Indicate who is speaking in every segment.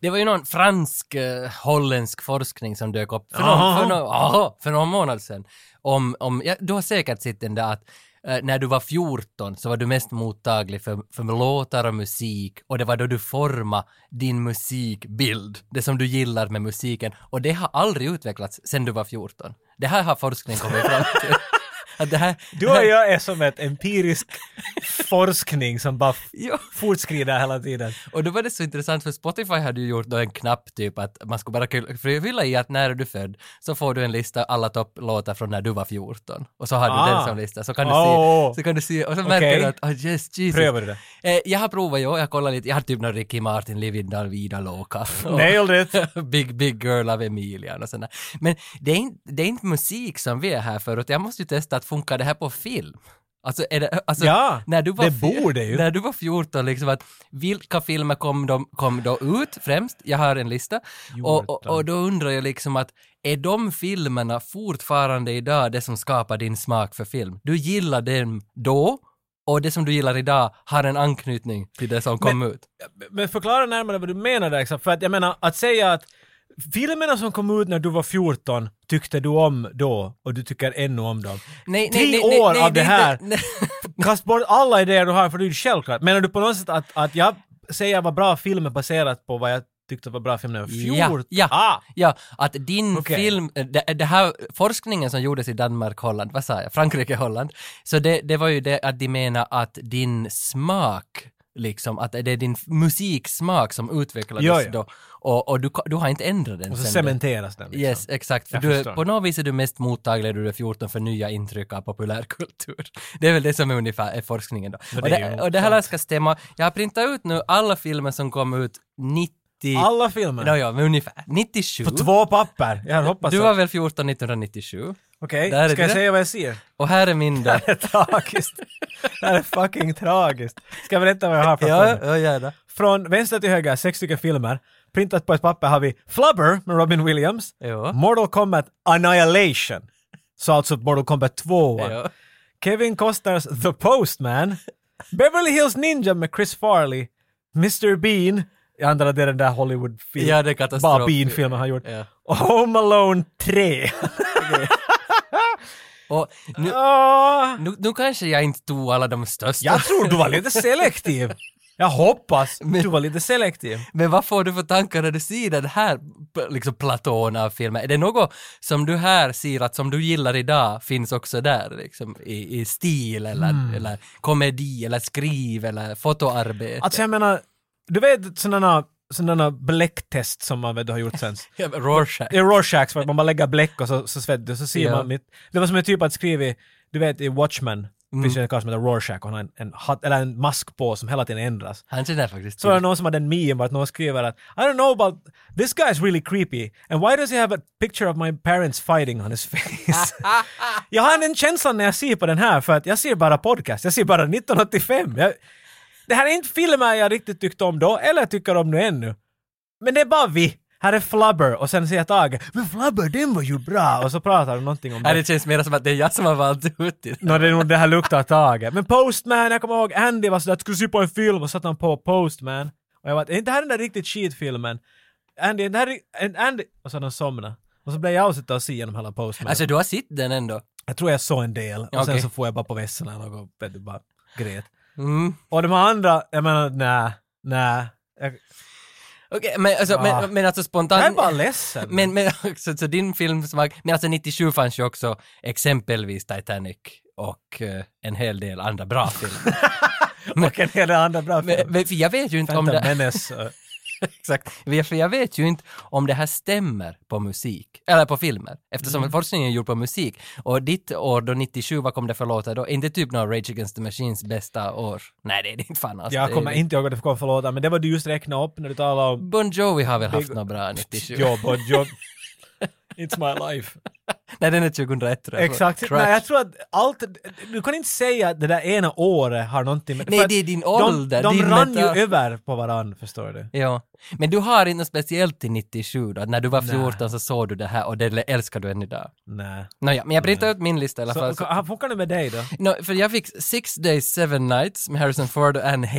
Speaker 1: Det var ju någon fransk, eh, holländsk forskning som dök upp för någon,
Speaker 2: Aha.
Speaker 1: för någon, aha, för någon månad sedan. Om, om, ja, du har säkert sett den där att eh, när du var 14 så var du mest mottaglig för, för låtar och musik och det var då du formade din musikbild, det som du gillar med musiken. Och det har aldrig utvecklats sedan du var 14. Det här har forskning kommit fram till. Att det här,
Speaker 2: Du och jag är som ett empirisk forskning som bara f-
Speaker 1: Ja.
Speaker 2: fortskrider hela tiden.
Speaker 1: Och då var det så intressant för Spotify hade ju gjort då en knapp typ att man skulle bara kul- fylla i att när är du född så får du en lista alla topplåtar från när du var 14. Och så har
Speaker 2: Ah.
Speaker 1: du den som lista. Så kan du
Speaker 2: Oh.
Speaker 1: se, så kan du se och så märker
Speaker 2: Okej.
Speaker 1: du att oh, yes, Jesus.
Speaker 2: Prövar du det?
Speaker 1: Eh, jag har provat, ja, jag kollar lite, jag har typ någon Ricky Martin, Livindal, Vida Loka. Och-
Speaker 2: Nailed it!
Speaker 1: Big, big girl av Emilian och sådär. Men det är, inte, det är inte musik som vi är här för, utan jag måste ju testa att funkar det här på film? Alltså, är det, alltså
Speaker 2: Ja,
Speaker 1: när du var
Speaker 2: det
Speaker 1: fj-
Speaker 2: borde ju.
Speaker 1: När du var 14, liksom att vilka filmer kom, de, kom då ut främst? Jag har en lista. Och, och, och då undrar jag liksom att är de filmerna fortfarande idag det som skapar din smak för film? Du gillar den då och det som du gillar idag har en anknytning till det som kom ut.
Speaker 2: Men förklara närmare vad du menar där exakt. För att jag menar, att säga att filmerna som kom ut när du var 14 tyckte du om då och du tycker ännu om dem.
Speaker 1: Nej,
Speaker 2: Tre år av det
Speaker 1: är
Speaker 2: här.
Speaker 1: inte- nej.
Speaker 2: Kast bort alla idéer du har för det är ju självklart. Menar du på något sätt att, att jag säger vad bra filmer baserat på vad jag tyckte var bra filmer när jag var
Speaker 1: Ja,
Speaker 2: 14?
Speaker 1: ja.
Speaker 2: Ah,
Speaker 1: Ja, att din
Speaker 2: Okej.
Speaker 1: film, eh, det, det här forskningen som gjordes i Danmark, Holland, vad sa jag, Frankrike, Holland, så det, det var ju det att de menar att din smak, liksom, att det är din musiksmak som utvecklades
Speaker 2: Ja, ja.
Speaker 1: då och, och du, du har inte ändrat den
Speaker 2: och så
Speaker 1: sen dess.
Speaker 2: cementeras den. liksom.
Speaker 1: Yes, exakt. För
Speaker 2: Jag
Speaker 1: du är,
Speaker 2: förstår.
Speaker 1: på något vis är du mest mottaglig när du är 14 för nya intryck av populärkultur. Det är väl det som är ungefär är forskningen då.
Speaker 2: det
Speaker 1: och,
Speaker 2: är ju
Speaker 1: det, och det här
Speaker 2: sant.
Speaker 1: ska stämma. Jag har printat ut nu alla filmer som kom ut 90...
Speaker 2: Alla filmer.
Speaker 1: Nå, ja, men ungefär. 97.
Speaker 2: På två papper. Jag hade hoppats
Speaker 1: Du var
Speaker 2: att...
Speaker 1: väl 14 1997?
Speaker 2: Okej,
Speaker 1: Där är
Speaker 2: ska jag
Speaker 1: det.
Speaker 2: säga vad jag ser?
Speaker 1: Och här är min då.
Speaker 2: Det är tragiskt. Det här är fucking tragiskt. Ska jag berätta vad jag har för
Speaker 1: ja, ja, gärna.
Speaker 2: Från vänster till höger, sex stycken filmer. Printat på ett papper har vi Flubber med Robin Williams.
Speaker 1: Ja.
Speaker 2: Mortal Kombat Annihilation. Så alltså Mortal Kombat 2.
Speaker 1: Ja.
Speaker 2: Kevin Costners The Postman. Beverly Hills Ninja med Chris Farley. Mr Bean. Jag antar att det är den där hollywood
Speaker 1: Ja, det är katastrof.
Speaker 2: Bara Bean-filmen han gjort.
Speaker 1: Ja.
Speaker 2: Och Home Alone 3.
Speaker 1: Och nu,
Speaker 2: Ah.
Speaker 1: nu, nu kanske jag inte tog alla de största.
Speaker 2: Jag tror du var lite selektiv. Jag hoppas
Speaker 1: Men-
Speaker 2: du var lite selektiv.
Speaker 1: Men vad får du för tankar när du ser den här p- liksom, platån av filmer? Är det något som du här ser att som du gillar idag finns också där? Liksom, i, I stil eller,
Speaker 2: Mm.
Speaker 1: eller komedi eller skriv eller fotoarbete?
Speaker 2: Alltså jag menar, du vet sådana sådana bläcktest som man vet du har gjort sen.
Speaker 1: Rorschach.
Speaker 2: Det är Rorschachs för att man bara lägger bläck och så, så svettas du så ser
Speaker 1: Ja.
Speaker 2: man mitt... Det var som en typ att skriva i, du vet i Watchmen,
Speaker 1: Mm.
Speaker 2: finns det en karl som heter Rorschach och han har en, en, hatt- eller en mask på som hela tiden ändras.
Speaker 1: Han känner faktiskt
Speaker 2: Så var det
Speaker 1: till.
Speaker 2: någon som hade en meme vart någon skriver att I don't know about this guy is really creepy and why does he have a picture of my parents fighting on his face? jag har den känslan när jag ser på den här för att jag ser bara podcast, jag ser bara 1985. Jag, det här är inte filmer jag riktigt tyckte om då eller tycker om nu ännu. Men det är bara vi. Här är Flubber och sen ser jag Tage. Men Flubber den var ju bra! Och så pratar de någonting om
Speaker 1: Ja,
Speaker 2: det.
Speaker 1: det känns mer som att det är jag som har valt ut det.
Speaker 2: Nå det är nog det här luktar Tage. Men Postman, jag kommer ihåg Andy var sådär att skulle se på en film och satte han på Postman. Och jag var är inte det här den där riktigt skitfilmen? Andy, är det här ri- Andy... Och så hade han somnat. Och så blev jag sitta och se igenom hela Postman.
Speaker 1: Alltså du har sett den ändå?
Speaker 2: jag tror jag såg en del och sen
Speaker 1: Okej.
Speaker 2: så får jag bara på vässorna och något, vet du, bara grät.
Speaker 1: Mm.
Speaker 2: Och de här andra, jag menar nä, nä. Jag,
Speaker 1: Okej, men, alltså,
Speaker 2: Ah.
Speaker 1: men, men alltså
Speaker 2: jag är
Speaker 1: spontant...
Speaker 2: bara ledsen.
Speaker 1: Men, men också, så din filmsmak, men alltså 97 fanns ju också exempelvis Titanic och eh, en hel del andra bra filmer.
Speaker 2: och en hel del andra bra
Speaker 1: men,
Speaker 2: filmer.
Speaker 1: men, för jag vet ju inte om
Speaker 2: Phantom
Speaker 1: det,
Speaker 2: Menace. eh,
Speaker 1: exakt, för jag vet ju inte om det här stämmer på musik, eller på filmer, eftersom
Speaker 2: Mm.
Speaker 1: forskningen är gjord på musik. Och ditt år då 97, vad kom det för låtar då? Är Inte typ några Rage Against the Machines bästa år? Nej, det är det inte fan alls. Det
Speaker 2: Jag
Speaker 1: är
Speaker 2: kommer
Speaker 1: ju-
Speaker 2: inte ihåg vad det kom för låtar, men det var du just räknade upp när du talade om
Speaker 1: Bon Jovi har väl haft
Speaker 2: Big-
Speaker 1: några bra 97?
Speaker 2: Ja, Bon Jovi. It's my life.
Speaker 1: Nej, den är 2001 tror jag.
Speaker 2: Exakt.
Speaker 1: Crutch.
Speaker 2: Nej, jag tror att allt... Du kan inte säga att det där ena året har någonting med...
Speaker 1: Nej,
Speaker 2: för att
Speaker 1: det är din
Speaker 2: De,
Speaker 1: ålder,
Speaker 2: de
Speaker 1: din
Speaker 2: rann
Speaker 1: meta-
Speaker 2: ju över på varandra, förstår du.
Speaker 1: Ja. Men du har inte något speciellt till 97 då? Att När du var 14 så såg du det här och det älskar du än idag.
Speaker 2: Nej.
Speaker 1: Nåja, men jag printar ut min lista i alla
Speaker 2: Så,
Speaker 1: fall. Så,
Speaker 2: ka- funkar det med dig då?
Speaker 1: Nå, för jag fick Six Days Seven Nights med Harrison Ford och Anne H.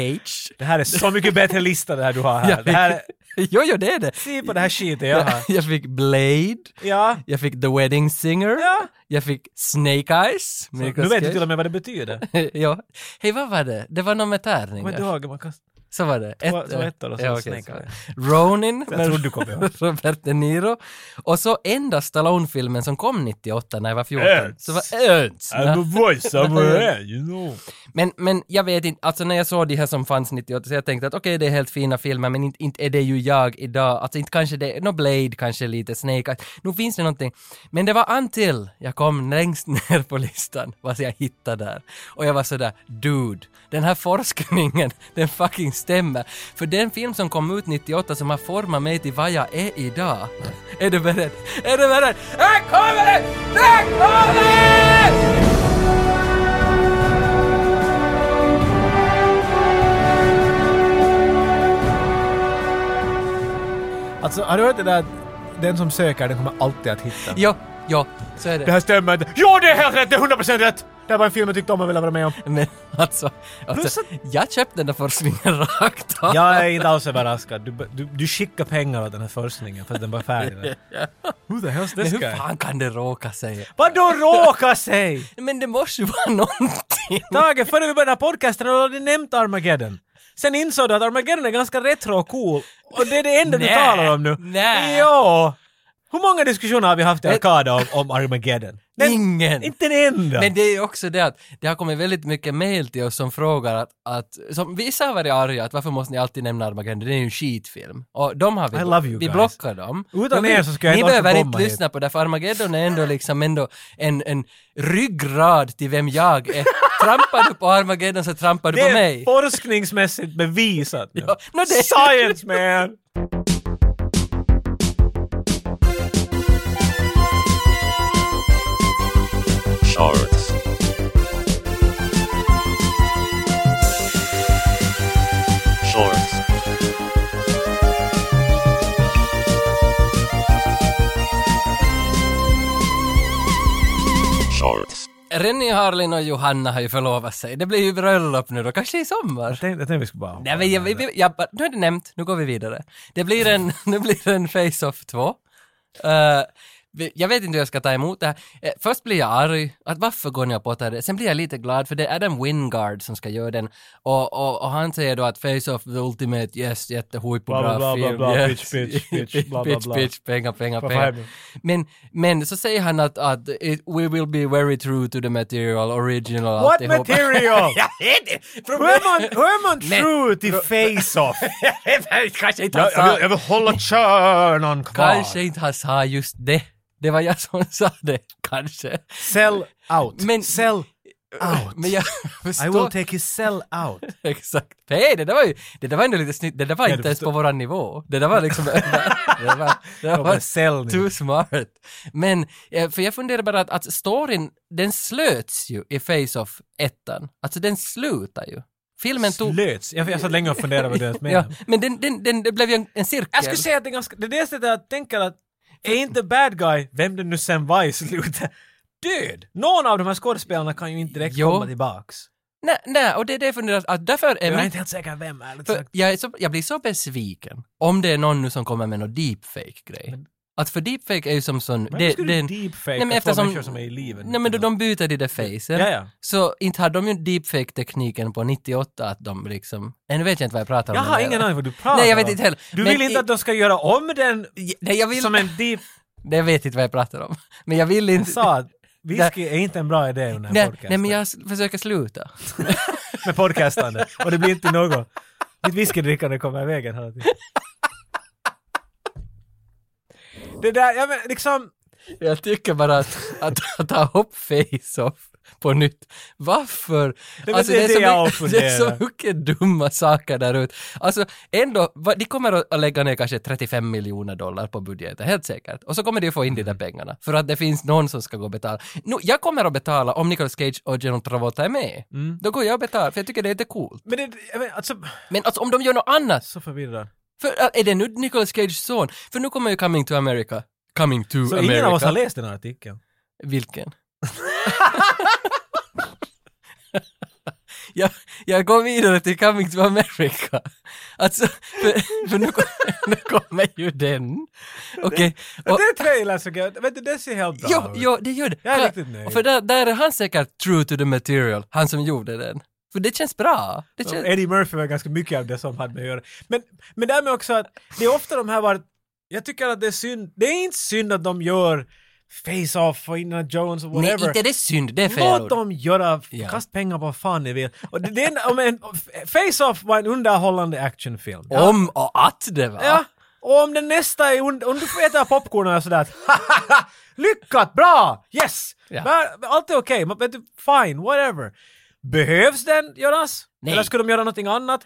Speaker 2: Det här är så mycket bättre lista det här du har här. Det här
Speaker 1: jo, jo, det är det.
Speaker 2: se på det här skiten jag har.
Speaker 1: Jag fick Blade,
Speaker 2: Ja.
Speaker 1: jag fick The Wedding Singer,
Speaker 2: Ja.
Speaker 1: jag fick Snake Eyes.
Speaker 2: Så,
Speaker 1: Nicolas
Speaker 2: nu vet du
Speaker 1: Cage.
Speaker 2: till och med vad det betyder.
Speaker 1: ja. Hej, vad var det? Det var någon med tärningar.
Speaker 2: Men du har, man kan...
Speaker 1: Så var det.
Speaker 2: Två- två ettor och så
Speaker 1: okej,
Speaker 2: Snake
Speaker 1: så var det.
Speaker 2: Eyes.
Speaker 1: Ronin
Speaker 2: Jag
Speaker 1: med
Speaker 2: trodde du kom ihåg.
Speaker 1: Robert De Niro. Och så enda Stallone-filmen som kom 98 när jag var 14.
Speaker 2: Ernst.
Speaker 1: Så var Ernst. Ja.
Speaker 2: voice of her, you know.
Speaker 1: Men, men jag vet inte, alltså när jag såg de här som fanns 98 så jag tänkte att okej det är helt fina filmer men inte, inte är det ju jag idag. Alltså inte kanske det, no Blade kanske lite, Snake Eyes. Nu finns det någonting. Men det var until jag kom längst ner på listan vad jag hittade där. Och jag var sådär, dude, den här forskningen, den fucking stämmer. För den film som kom ut 98 som har format mig till vad jag är idag. Är du beredd? Är du beredd? Här kommer den! Där kommer den!
Speaker 2: Alltså, har du hört det där att den som söker, den kommer alltid att hitta?
Speaker 1: Jo, jo, så är det.
Speaker 2: Det här stämmer inte. Jo, det är helt rätt! Det är 100% rätt! Det här var en film jag tyckte om och ville vara med om.
Speaker 1: Men alltså,
Speaker 2: Plus
Speaker 1: alltså jag köpte den där forskningen rakt av.
Speaker 2: Jag är inte alls överraskad. Du, du, du skickar pengar åt den här forskningen för att den var färdig. Who the hell's
Speaker 1: Men
Speaker 2: this
Speaker 1: hur
Speaker 2: guy?
Speaker 1: fan kan det råka sig?
Speaker 2: Vadå råka sig?
Speaker 1: Men det måste ju vara någonting.
Speaker 2: Tage, före vi började den här podcasten hade du nämnt Armageddon. Sen insåg du att Armageddon är ganska retro och cool. Och det är det enda du
Speaker 1: Nä,
Speaker 2: talar om nu.
Speaker 1: nä.
Speaker 2: Jo! Hur många diskussioner har vi haft i
Speaker 1: Men-
Speaker 2: Arkada om, om Armageddon? Den-
Speaker 1: Ingen.
Speaker 2: Inte en enda!
Speaker 1: Men det är ju också det att det har kommit väldigt mycket mail till oss som frågar att, att som vissa har varit arga att varför måste ni alltid nämna Armageddon, det är ju en skitfilm. Och de har vi,
Speaker 2: I love you
Speaker 1: vi
Speaker 2: guys.
Speaker 1: blockar dem.
Speaker 2: Utan
Speaker 1: De-
Speaker 2: er så skulle jag
Speaker 1: Ni
Speaker 2: inte orka
Speaker 1: behöver
Speaker 2: komma
Speaker 1: inte
Speaker 2: hit.
Speaker 1: lyssna på det för Armageddon är ändå liksom ändå en, en ryggrad till vem jag är. trampar du på Armageddon så trampar du
Speaker 2: Det
Speaker 1: på
Speaker 2: är
Speaker 1: mig.
Speaker 2: forskningsmässigt bevisat nu.
Speaker 1: Ja, nå det-
Speaker 2: Science man!
Speaker 3: Shorts. Shorts. Shorts.
Speaker 1: Renny Harlin och Johanna har ju förlovat sig. Det blir ju bröllop nu då, kanske i sommar.
Speaker 2: Jag tänkte, jag tänkte vi skulle bara...
Speaker 1: Nej, men jag, vi- vi- jag, bara- nu är det nämnt, nu går vi vidare. Det blir en, nu blir det en Face-Off 2. Eh, vi- jag vet inte hur jag ska ta emot det här. Eh, först blir jag arg, att varför går ni och pottar det? Sen blir jag lite glad för det är Adam Wingard som ska göra den. Och, och, och han säger då att Face-Off the Ultimate, yes, jättehoj på
Speaker 2: Bla, bla,
Speaker 1: bra
Speaker 2: bla, bla,
Speaker 1: film.
Speaker 2: bla,
Speaker 1: yes.
Speaker 2: pitch, pitch, pitch, bla, bla,
Speaker 1: pitch,
Speaker 2: bla.
Speaker 1: pitch, pengar, pengar,
Speaker 2: Vad
Speaker 1: pengar.
Speaker 2: fan?
Speaker 1: Men, men så säger han att, att it, we will be very true to the material, original,
Speaker 2: What
Speaker 1: alltihopa.
Speaker 2: material?
Speaker 1: jag vet inte!
Speaker 2: Hur är man, hur är man
Speaker 1: Men-
Speaker 2: true till face-off?
Speaker 1: Kanske inte han
Speaker 2: jag, jag,
Speaker 1: sa,
Speaker 2: vill, jag vill hålla kärnan kvar.
Speaker 1: kanske inte han sa just det. Det var jag som sa det, kanske.
Speaker 2: Sell out.
Speaker 1: Men-
Speaker 2: sell out.
Speaker 1: Men jag
Speaker 2: I will
Speaker 1: förstår
Speaker 2: take his sell out.
Speaker 1: exakt. Hej, det där var ju, det där var ändå lite snyggt. Det där var
Speaker 2: Ja, du
Speaker 1: inte ens på
Speaker 2: förstår.
Speaker 1: våran nivå. Det där var liksom, det var, det
Speaker 2: Jag bara
Speaker 1: var
Speaker 2: sell nu.
Speaker 1: too smart. Men, eh, för jag funderar bara att, att storyn, den slöts ju i Face-Off 1. Alltså den slutar ju. Filmen tog...
Speaker 2: Slöts. Jag, jag satt länge och funderade vad du ens
Speaker 1: Ja,
Speaker 2: menade.
Speaker 1: men den, den, den, det blev ju en, en cirkel.
Speaker 2: Jag skulle säga att det är ganska... Det är det sättet jag tänker att är inte bad guy, vem det nu sen var i slutet, död? Någon av de här skådespelarna kan ju inte direkt
Speaker 1: Jo.
Speaker 2: komma tillbaks.
Speaker 1: Nej, nej, och det är det jag funderar, att därför är
Speaker 2: Jag är
Speaker 1: mitt
Speaker 2: inte helt säker vem, ärligt
Speaker 1: För
Speaker 2: sagt.
Speaker 1: jag, är så, jag blir så besviken om det är någon nu som kommer med någon deepfake-grej. Att för deepfake är ju som sån...
Speaker 2: Varför
Speaker 1: Det, det,
Speaker 2: skulle du
Speaker 1: är en-
Speaker 2: deepfakea
Speaker 1: Nej, men
Speaker 2: två
Speaker 1: eftersom-
Speaker 2: människor som är i livet?
Speaker 1: nej men då de byter de där facen.
Speaker 2: Ja, ja.
Speaker 1: Så inte hade de ju deepfake-tekniken på 98 att de liksom... Nej, nu vet jag inte vad jag pratar
Speaker 2: Jag
Speaker 1: om.
Speaker 2: har
Speaker 1: men-
Speaker 2: ingen aning vad du pratar
Speaker 1: Nej, jag vet
Speaker 2: om.
Speaker 1: inte heller.
Speaker 2: Du
Speaker 1: Men
Speaker 2: vill
Speaker 1: i-
Speaker 2: inte att de ska göra om den
Speaker 1: Nej, jag vill...
Speaker 2: som en deep...
Speaker 1: Nej, jag vet inte vad jag pratar om. Men jag vill
Speaker 2: Jag
Speaker 1: inte...
Speaker 2: sa att whisky är inte en bra idé under den här
Speaker 1: nej, nej,
Speaker 2: podcasten.
Speaker 1: men jag s- försöker sluta.
Speaker 2: Med podcastande. Och det blir inte något. Mitt whiskydrickande kommer i vägen hela tiden. Det där, liksom, jag menar liksom...
Speaker 1: Jag tycker bara att, att, att ta upp face-off på nytt. Varför?
Speaker 2: men det är det jag
Speaker 1: så, mycket- det är så
Speaker 2: funderar.
Speaker 1: mycket dumma saker där ute. Alltså ändå, va- de kommer att att lägga ner kanske 35 miljoner dollar på budgeten, helt säkert. Och så kommer de att få in de
Speaker 2: Mm.
Speaker 1: där pengarna, för att det finns någon som ska gå och betala. Nu, jag kommer att betala om Nicolas Cage och John Travolta är med. Då går jag och betalar, för jag tycker det är lite coolt.
Speaker 2: Men det, jag men, alltså,
Speaker 1: Men alltså om de gör något annat,
Speaker 2: så förvirrad.
Speaker 1: för äh, är det nu Nicolas Cages son? För nu kommer ju Coming to America. Coming to
Speaker 2: Så
Speaker 1: America.
Speaker 2: ingen av oss har läst den här artikeln.
Speaker 1: Vilken? jag, jag går vidare till Coming to America. Alltså, för, för nu, kom, nu kommer ju den. Okej.
Speaker 2: Det
Speaker 1: och-
Speaker 2: är trailern som jag... Vet du, det ser helt bra
Speaker 1: Jo,
Speaker 2: ut.
Speaker 1: jo, det gör det.
Speaker 2: Jag är
Speaker 1: Ka-
Speaker 2: riktigt nöjd.
Speaker 1: och För där, där är han säkert true to the material, han som gjorde den. För det känns bra. Det
Speaker 2: Och
Speaker 1: känns...
Speaker 2: Eddie Murphy var ganska mycket av det som hade med att göra. Men, men därmed också att det är ofta de här var... Jag tycker att det är synd. Det är inte synd att de gör Face-Off och Indiana Jones och
Speaker 1: Nej,
Speaker 2: whatever.
Speaker 1: inte det är synd, det är fel
Speaker 2: Låt
Speaker 1: ord.
Speaker 2: dem göra,
Speaker 1: Ja.
Speaker 2: kast pengar på vad fan ni vill. Och det, det är en, om en, Face-Off var en underhållande actionfilm.
Speaker 1: Om och att det var.
Speaker 2: Ja. Och om den nästa är, und- om du får äta popcornen och sådär, att lyckat, bra, yes!
Speaker 1: Ja.
Speaker 2: Men Allt är okej, men vet du, fine, whatever. Behövs den göras?
Speaker 1: Nej.
Speaker 2: Eller skulle de göra någonting annat?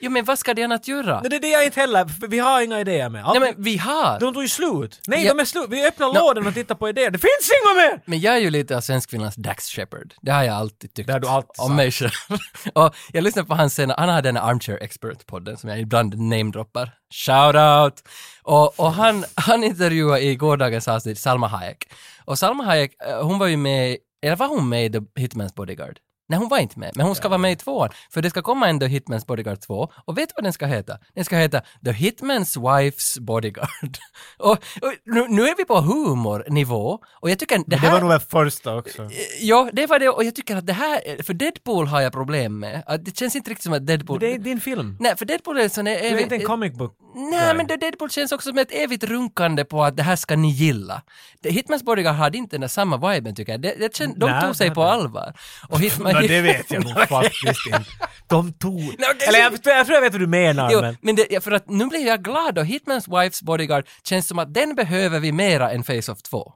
Speaker 1: Jo, men vad ska det annat göra?
Speaker 2: Nej, det är det jag inte heller, för vi har inga idéer med.
Speaker 1: Nej, men vi har.
Speaker 2: De tog ju slut. Nej,
Speaker 1: Ja.
Speaker 2: de är slut. Vi öppnar lådan och tittar på idéer. Det finns inga mer!
Speaker 1: Men jag är ju lite av svenskfinlands Dax Shepard. Det har jag alltid tyckt.
Speaker 2: Det har du alltid
Speaker 1: Om
Speaker 2: sagt.
Speaker 1: mig själv. Och jag lyssnar på hans senare, han har den här Armchair Expert-podden som jag ibland namedroppar. Shout out! Och, och han, han intervjuade i gårdagens avsnitt Salma Hayek. Och Salma Hayek, eh, hon var ju med, eller var hon med i The Hitman's Bodyguard? Nej, hon var inte med, men hon ska vara med i tvåan. För det ska komma en The Hitman's Bodyguard 2. Och vet du vad den ska heta? Den ska heta The Hitman's Wife's Bodyguard. och och nu, nu är vi på humornivå. Och jag tycker det
Speaker 2: Det
Speaker 1: här...
Speaker 2: var nog den första också.
Speaker 1: Eh, Ja, det var det och jag tycker att det här, eh, för Deadpool har jag problem med. Att Det känns inte riktigt som att Deadpool...
Speaker 2: Det är din film.
Speaker 1: Nej, för Deadpool är en sån... Eh,
Speaker 2: Det är inte en comic book.
Speaker 1: Nej, men det Deadpool känns också som ett evigt runkande på att det här ska ni gilla. Det- Hitmans Bodyguard hade inte den där samma viben tycker jag. Det, det känns, de
Speaker 2: Nej,
Speaker 1: tog sig
Speaker 2: nej,
Speaker 1: på
Speaker 2: nej.
Speaker 1: allvar. Och Hitman...
Speaker 2: Nej, det vet jag nog faktiskt inte. De tog...
Speaker 1: okej.
Speaker 2: Eller jag, jag tror jag vet vad du menar,
Speaker 1: Jo,
Speaker 2: men...
Speaker 1: men det, ja, för att nu blir jag glad och Hitmans Wife's Bodyguard känns som att den behöver vi mera än Face-Off 2.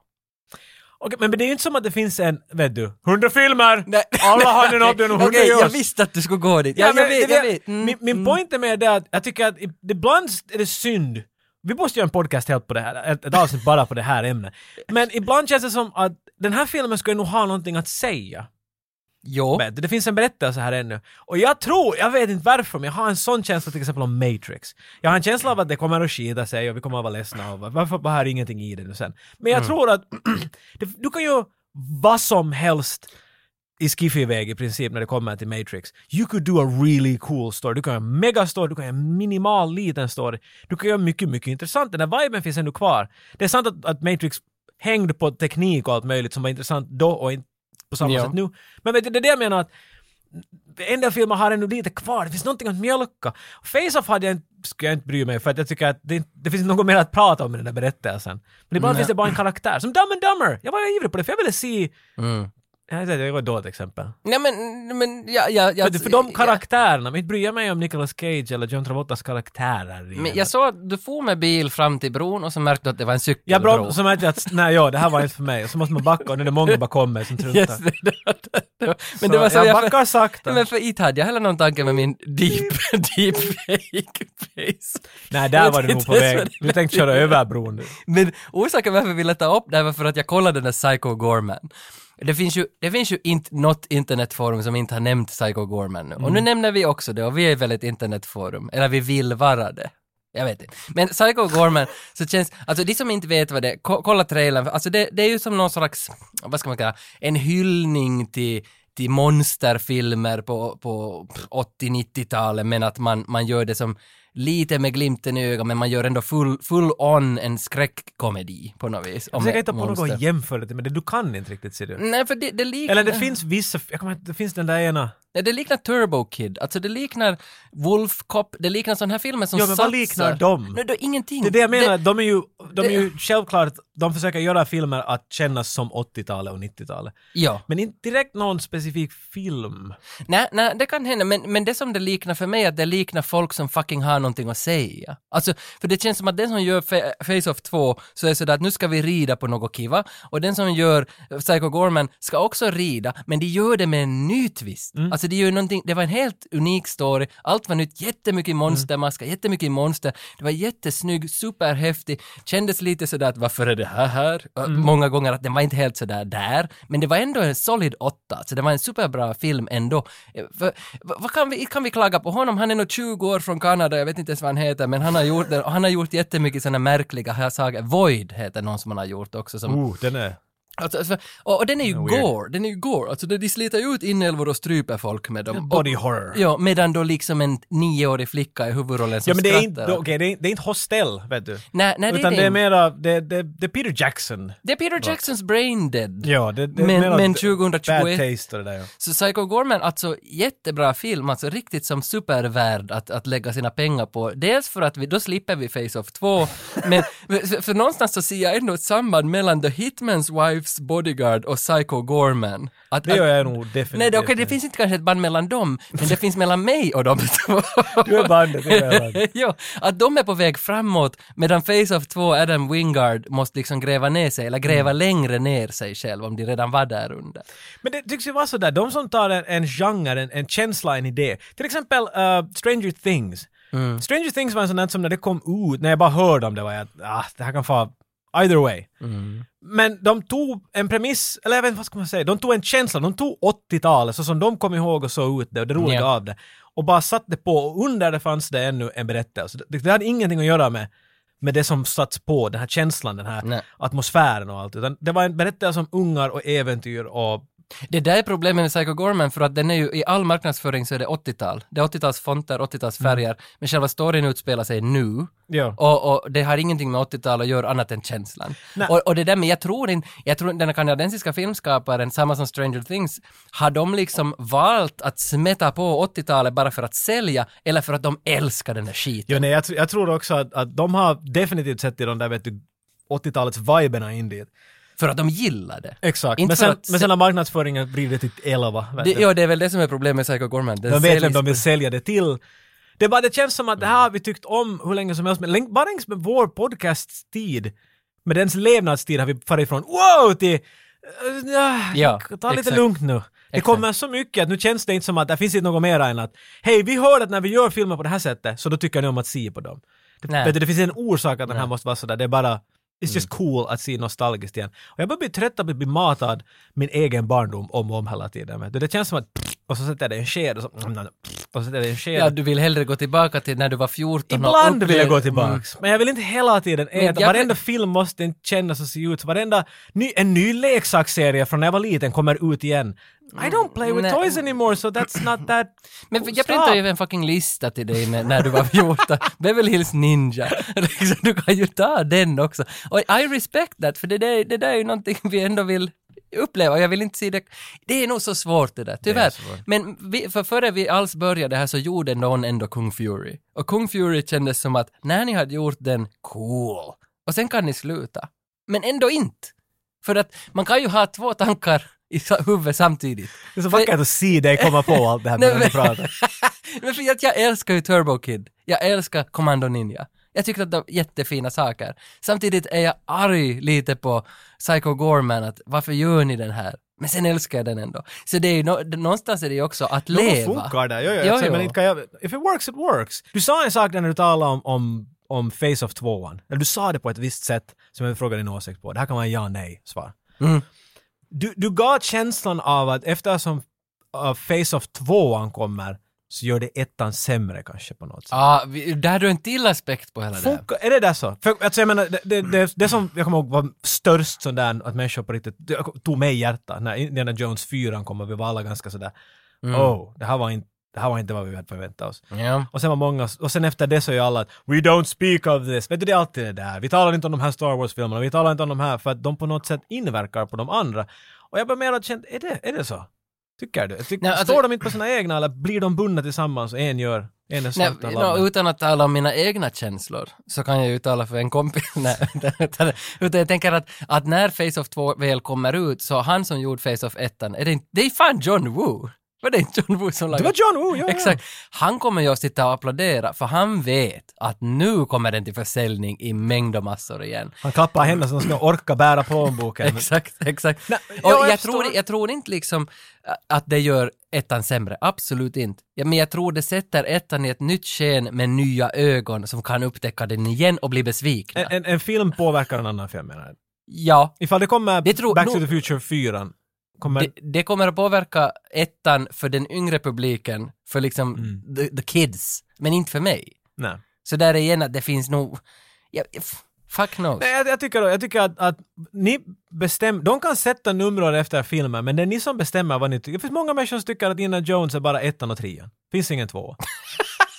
Speaker 2: Okej, men det är ju inte som att det finns en, vet du, hundra filmer!
Speaker 1: Nej.
Speaker 2: Alla har den av den och
Speaker 1: Okej,
Speaker 2: hundra görs.
Speaker 1: jag visste att du skulle gå dit. Ja,
Speaker 2: men
Speaker 1: jag vet,
Speaker 2: det-
Speaker 1: jag vet. Mm,
Speaker 2: Min, min
Speaker 1: mm.
Speaker 2: point är med det att jag tycker att i- ibland är det synd. Vi måste göra en podcast helt på det här, ett, ett avsnitt bara på det här ämnet. Men ibland känns det som att den här filmen skulle nog ha någonting att säga.
Speaker 1: Jo.
Speaker 2: Men det finns en berättelse här ännu. Och jag tror, jag vet inte varför, men jag har en sån känsla till exempel om Matrix. Jag har en känsla av att det kommer att skita sig och vi kommer att vara ledsna och varför bara här är ingenting i det nu sen. Men jag tror att det, du kan ju vad som helst i skiffy-väg i princip när det kommer till Matrix. You could do a really cool story. Du kan göra en megastory, du kan göra en minimal liten story. Du kan göra mycket, mycket intressant. Den där viben finns ännu kvar. Det är sant att, att Matrix hängde på teknik och allt möjligt som var intressant då och inte på samma
Speaker 1: Ja.
Speaker 2: sätt nu. Men vet du, det är det jag menar att en del filmer har ännu lite kvar, det finns någonting att mjölka. Face-Off hade jag inte, skulle jag inte bry mig för att jag tycker att det, det finns något mer att prata om i den där berättelsen. Men ibland
Speaker 1: Nej.
Speaker 2: finns det bara en karaktär. Som Dumb and Dumber! Jag var ivrig på det för jag ville se...
Speaker 1: Mm.
Speaker 2: Jag vet inte, det var ett dåligt exempel.
Speaker 1: Nej men, men jag, jag, jag,
Speaker 2: Vet du, för de
Speaker 1: Alltså, jag,
Speaker 2: karaktärerna, men inte bryr jag mig om Nicolas Cage eller John Travoltas karaktärer. i
Speaker 1: men
Speaker 2: den.
Speaker 1: jag såg att du får med bil fram till bron och så märkte du att det var en
Speaker 2: jag
Speaker 1: cykelbro.
Speaker 2: bra, så märkte jag att nej, ja, det här var inte för mig. Och så måste man backa och nu är det många bara kommer som truntar.
Speaker 1: Yes, det, det, det, det, var- men det var så
Speaker 2: jag,
Speaker 1: jag...
Speaker 2: backar sakta.
Speaker 1: Nej, men för inte hade jag heller någon tanke med min deep, deep fake face.
Speaker 2: nej,
Speaker 1: jag
Speaker 2: där
Speaker 1: vet
Speaker 2: var du nog
Speaker 1: inte
Speaker 2: på
Speaker 1: ens
Speaker 2: väg.
Speaker 1: vad det
Speaker 2: Du tänkte köra över bron. du.
Speaker 1: Men orsaken varför jag ville ta upp det här var för att jag kollade den där Psycho Gorman. Det finns ju, det finns ju inte något internetforum som inte har nämnt Psycho Gorman nu. Och nu nämner vi också det och vi är väl ett internetforum, eller vi vill vara det. Jag vet inte. Men Psycho Gorman, så känns, alltså de som inte vet vad det är, ko- kolla trailern, alltså det, det är ju som någon slags, vad ska man kalla, en hyllning till till monsterfilmer på, på 80-90-talet men att man, man gör det som lite med glimten i ögat men man gör ändå full, full on en skräckkomedi på något vis.
Speaker 2: Jag
Speaker 1: om
Speaker 2: försöker hitta på något
Speaker 1: monster.
Speaker 2: att jämföra det med, det du kan inte riktigt se det.
Speaker 1: Nej, för det, det liknar...
Speaker 2: Eller det finns vissa, jag kommer, inte- det finns den där ena.
Speaker 1: Nej, det liknar Turbo Kid, alltså det liknar Wolf Cop, det liknar sådana här filmer som
Speaker 2: Ja, men vad
Speaker 1: satsar.
Speaker 2: liknar dem?
Speaker 1: Nej, då, ingenting.
Speaker 2: Det är det jag menar, de är ju, de är
Speaker 1: det-
Speaker 2: ju självklart de försöker göra filmer att kännas som 80-talet och 90-talet.
Speaker 1: Ja.
Speaker 2: Men inte direkt någon specifik film.
Speaker 1: Nej, nej, det kan hända, men, men det som det liknar för mig är att det liknar folk som fucking har någonting att säga. Alltså, för det känns som att den som gör Fa- Face-Off 2 så är det sådär att nu ska vi rida på något kiva, och den som gör Psycho Gorman ska också rida, men de gör det med en ny twist. Alltså det, gör någonting, det var en helt unik story, allt var nytt, jättemycket monstermaskar, jättemycket monster, det var jättesnygg, superhäftig, kändes lite sådär att varför är det här här? Och
Speaker 2: Mm.
Speaker 1: Många gånger att den var inte helt sådär där, men det var ändå en solid åtta, så det var en superbra film ändå. Eh, För, vad vad kan, vi, kan vi klaga på honom? Han är nog 20 år från Kanada, jag vet inte ens vad han heter, men han har gjort, det, och han har gjort jättemycket sådana märkliga här saker. Void heter någon som han har gjort också, som
Speaker 2: Oh, den är...
Speaker 1: Alltså, för, och, och den är ju
Speaker 2: Den är weird.
Speaker 1: gore, den är ju gore. Alltså de, de sliter ju ut inälvor och stryper folk med dem. Och,
Speaker 2: Body horror.
Speaker 1: ja, medan då liksom en nioårig flicka i huvudrollen som
Speaker 2: Ja men det är, inte,
Speaker 1: skrattar.
Speaker 2: okej, det, är, det är inte Hostel, vet du.
Speaker 1: Nej, nej, det,
Speaker 2: Utan
Speaker 1: är
Speaker 2: det är
Speaker 1: inte.
Speaker 2: mera, det, det, det är Peter Jackson.
Speaker 1: det är Peter Jacksons brain dead.
Speaker 2: Ja, det, det är
Speaker 1: Men-
Speaker 2: mera
Speaker 1: men
Speaker 2: d-
Speaker 1: 2021
Speaker 2: Bad taste och det där ja.
Speaker 1: Så Psycho Gorman, alltså jättebra film, alltså riktigt som supervärd att, att lägga sina pengar på. Dels för att vi, då slipper vi Face-Off 2, men för, för någonstans så ser jag ändå ett samband mellan The Hitman's Wife's Bodyguard och Psycho Gorman. Att,
Speaker 2: Det
Speaker 1: att,
Speaker 2: gör jag nog definitivt.
Speaker 1: Nej, det, okej, det finns inte kanske ett band mellan dem, men det finns mellan mig och dem två.
Speaker 2: Du är bandet, du är bandet.
Speaker 1: ja, att de är på väg framåt, medan Face-Off 2, Adam Wingard, måste liksom gräva ner sig, eller gräva längre ner sig själv, om de redan var där under.
Speaker 2: Men det tycks ju vara sådär, de som tar en, en genre, en, en känsla, en idé. Till exempel eh, Stranger Things.
Speaker 1: Mm.
Speaker 2: Stranger Things var en sån där som när det kom ut, när jag bara hörde om det var jag ah, det här kan få either way.
Speaker 1: Mm.
Speaker 2: Men de tog en premiss, eller jag vet inte vad ska man säga, de tog en känsla, de tog 80-talet så som de kom ihåg och såg ut det och det roliga
Speaker 1: Ja.
Speaker 2: av det. Och bara satte på och under det fanns det ännu en berättelse. Det, det hade ingenting att göra med, med det som satts på, den här känslan, den här
Speaker 1: Nej.
Speaker 2: atmosfären och allt. Utan det var en berättelse om ungar och äventyr och
Speaker 1: Det där är problemet med Psycho Gorman, för att den är ju, i all marknadsföring så är det 80-tal. Det är 80-tals fonter, 80-tals färger, men själva storyn utspelar sig nu.
Speaker 2: Ja.
Speaker 1: Och, och det har ingenting med 80-tal att göra annat än känslan.
Speaker 2: Nej.
Speaker 1: Och, och det där med, jag tror inte, jag tror den kanadensiska filmskaparen, samma som Stranger Things, har de liksom valt att smeta på 80-talet bara för att sälja, eller för att de älskar den där skiten?
Speaker 2: Ja, nej, jag, tr- jag tror också att, att de har definitivt sett i de där vet du, 80-talets viberna in dit.
Speaker 1: För att de gillar det.
Speaker 2: Exakt.
Speaker 1: Inte
Speaker 2: men,
Speaker 1: för
Speaker 2: sen,
Speaker 1: att-
Speaker 2: men sen har marknadsföringen vridit till 11. Vet
Speaker 1: det
Speaker 2: du.
Speaker 1: ja, det är väl det som är problemet med Psycho Gorman. Den
Speaker 2: de vet vem
Speaker 1: säljs-
Speaker 2: de vill sälja det till. Det, är bara, det känns som att det här har vi tyckt om hur länge som helst, men länge- bara längs med vår podcasttid, med dens levnadstid har vi farit ifrån wow till eh, ah,
Speaker 1: Ja,
Speaker 2: ta lite
Speaker 1: exakt.
Speaker 2: lugnt nu. Det
Speaker 1: Exakt.
Speaker 2: kommer så mycket att nu känns det inte som att det finns inte något mer än att hej, vi hörde att när vi gör filmer på det här sättet så då tycker ni om att se på dem.
Speaker 1: Nej.
Speaker 2: Vet du, det finns en orsak att den här måste vara sådär, det är bara It's just
Speaker 1: Mm.
Speaker 2: cool att se nostalgiskt igen. Och jag börjar bli trött på att bli matad min egen barndom om och om hela tiden. vet du. Det känns som att och så sätter jag det i en sked och så, mm, och så sätter jag det i en sked.
Speaker 1: Ja, du vill hellre gå tillbaka till när du var 14 och
Speaker 2: Ibland vill jag
Speaker 1: uppleva-
Speaker 2: gå tillbaks. Men jag vill inte hela tiden äta.
Speaker 1: mm. jag-
Speaker 2: Varenda film måste inte kännas och se ut. Varenda ny, en ny leksaksserie från när jag var liten kommer ut igen. I don't play with
Speaker 1: Mm. Nej.
Speaker 2: toys anymore so that's not that...
Speaker 1: Men
Speaker 2: Oh,
Speaker 1: jag printade ju
Speaker 2: stop.
Speaker 1: en fucking lista till dig med, när du var 14. Beverly Hills Ninja. Liksom, du kan ju ta den också. Och I respect that, för det där, det där är ju någonting vi ändå vill uppleva. Jag vill inte se det. Det är nog så svårt det där, tyvärr.
Speaker 2: svårt.
Speaker 1: Men vi, för före vi alls började här så gjorde någon ändå Kung Fury. Och Kung Fury kändes som att när ni hade gjort den, cool. Och sen kan ni sluta. Men ändå inte. För att man kan ju ha två tankar i sa- huvudet samtidigt.
Speaker 2: Det är så vackert att se dig komma på allt det här
Speaker 1: Nej,
Speaker 2: medan du
Speaker 1: men-
Speaker 2: pratar.
Speaker 1: Men för att jag älskar ju Turbo Kid. Jag älskar Commando Ninja. Jag tyckte att det var jättefina saker. Samtidigt är jag arg lite på Psycho Gorman, att varför gör ni den här? Men sen älskar jag den ändå. Så det är ju nå- någonstans är det ju också att
Speaker 2: Något
Speaker 1: leva.
Speaker 2: funkar där, jo, jo,
Speaker 1: Jo,
Speaker 2: exakt,
Speaker 1: jo.
Speaker 2: men inte kan jag... If it works, it works. Du sa en sak där när du talade om, om, om Face-Off 2 Eller du sa det på ett visst sätt som jag frågade din åsikt på. Det här kan vara en ja nej-svar.
Speaker 1: Mm.
Speaker 2: Du, du gav känslan av att eftersom uh, Face-Off 2 kommer så gör det ettan sämre kanske på något sätt.
Speaker 1: Ja, vi- där har du en till aspekt på hela det här.
Speaker 2: Funkar, är det där så? För alltså, jag menar, det, det, det, det som jag kommer ihåg var störst sån där att människor på riktigt, det tog mig i hjärtat när Indiana Jones 4 kom och vi var alla ganska sådär oh, det här var inte, det här var inte vad vi hade förväntat oss.
Speaker 1: Mm. Ja.
Speaker 2: Och sen var många, och sen efter det så är ju alla att “We don't speak of this”. Vet du, det är alltid det där. Vi talar inte om de här Star Wars-filmerna, vi talar inte om de här för att de på något sätt inverkar på de andra. Och jag bara mer att känna, är det, är det så? Tycker du? Tyck,
Speaker 1: Nej, alltså-
Speaker 2: står de inte på sina egna eller blir de bundna tillsammans och en gör En och
Speaker 1: Nej,
Speaker 2: svart och
Speaker 1: nå,
Speaker 2: lammet.
Speaker 1: utan att tala om mina egna känslor så kan jag ju tala för en kompis. Nej, utan, utan jag tänker att, att när Face-Off 2 väl kommer ut så han som gjorde Face-Off 1, är det, inte, det är fan John Woo! Var det inte John Woo som
Speaker 2: Det
Speaker 1: lagade?
Speaker 2: var John Woo, ja, ja.
Speaker 1: Exakt. Han kommer ju att sitta och applådera för han vet att nu kommer den till försäljning i mängd och massor igen.
Speaker 2: Han klappar händerna så de ska orka bära plånboken.
Speaker 1: Exakt, exakt.
Speaker 2: Nej,
Speaker 1: och
Speaker 2: ja, jag
Speaker 1: jag,
Speaker 2: förstår.
Speaker 1: tror, jag tror inte liksom ä, att det gör ettan sämre, absolut inte. Ja, men jag tror det sätter ettan i ett nytt sken med nya ögon som kan upptäcka den igen och bli besvikna.
Speaker 2: En, en, en film påverkar en annan film menar jag.
Speaker 1: Ja,
Speaker 2: Ifall det kommer
Speaker 1: Det tror-
Speaker 2: Back to
Speaker 1: nog-
Speaker 2: the Future 4, kommer...
Speaker 1: det, det kommer att påverka ettan för den yngre publiken, för liksom
Speaker 2: Mm.
Speaker 1: the, the kids, men inte för mig.
Speaker 2: Nej.
Speaker 1: Så där är igen att det finns nog... Ja, f- fuck knows.
Speaker 2: Nej, jag, jag tycker, jag tycker att, att ni bestämmer, de kan sätta numren efter filmer, men det är ni som bestämmer vad ni tycker. Det finns många människor som tycker att Indiana Jones är bara ettan och trean. finns ingen tvåa.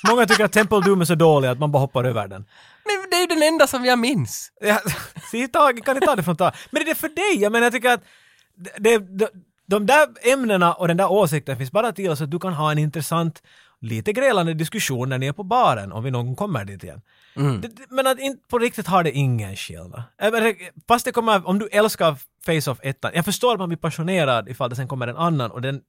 Speaker 2: många tycker att Temple Doom är så dålig att man bara hoppar över den.
Speaker 1: Men det är ju den enda som jag minns.
Speaker 2: Ja, se, tag, kan ni ta det från tag? Men är det för dig? Jag menar, jag tycker att det, det, de, de där ämnena och den där åsikten finns bara till så att du kan ha en intressant, lite grälande diskussion när ni är på baren, om vi någon gång kommer dit igen. Det- det- Men att inte på riktigt har det ingen skillnad. Jag menar, Fast det kommer, om du älskar Face-Off 1, jag förstår att man blir passionerad ifall det sen kommer en annan och den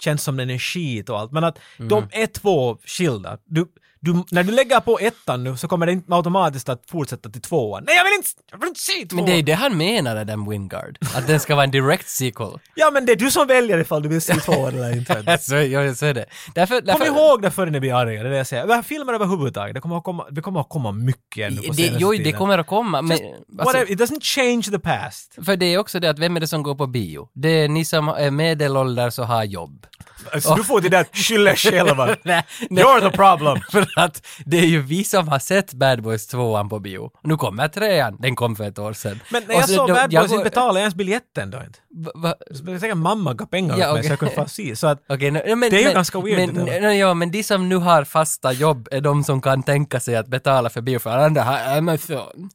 Speaker 2: känns som den är skit och allt, men att
Speaker 1: Mm.
Speaker 2: de är två skilda. Du, du, när du lägger på ettan nu så kommer det inte automatiskt att fortsätta till tvåan. Nej, jag vill inte, jag vill inte se tvåan!
Speaker 1: Men det är ju det han menade, den Wingard. Att den ska vara en direct sequel.
Speaker 2: Ja, men det är du som väljer ifall du vill se tvåan eller inte.
Speaker 1: så, ja, så är det. Därför,
Speaker 2: Kom
Speaker 1: därför,
Speaker 2: ihåg det förrän ni blir arga, det är det jag säger. Det här Filmer överhuvudtaget, det kommer att komma, det kommer att komma mycket nu på
Speaker 1: Det,
Speaker 2: senaste
Speaker 1: jo, det
Speaker 2: tiden.
Speaker 1: kommer att komma, men... Alltså,
Speaker 2: Whatever, it doesn't change the past.
Speaker 1: för det är också det att vem är det som går på bio? Det är ni som är medelålders och har jobb.
Speaker 2: Alltså, du får det där skylla er själva.
Speaker 1: Nej, nej.
Speaker 2: You're the problem.
Speaker 1: För att det är ju vi som har sett Bad Boys 2 på bio. Nu kommer trean, den kom för ett år sedan.
Speaker 2: Men när
Speaker 1: Och
Speaker 2: jag
Speaker 1: så
Speaker 2: såg
Speaker 1: då-
Speaker 2: Bad
Speaker 1: Alltså, jag
Speaker 2: Boys,
Speaker 1: går-
Speaker 2: inte betalade jag ens biljetten då inte.
Speaker 1: Va- va-
Speaker 2: Så jag tänker att mamma gav pengar åt
Speaker 1: Ja,
Speaker 2: mig så
Speaker 1: okej.
Speaker 2: jag kunde fan se. Så att,
Speaker 1: Okej, nu- men,
Speaker 2: Det är ju
Speaker 1: men,
Speaker 2: ganska weird
Speaker 1: Men,
Speaker 2: det där.
Speaker 1: nu- ja, men de som nu har fasta jobb är de som kan tänka sig att betala för bio för alla andra har Amazon.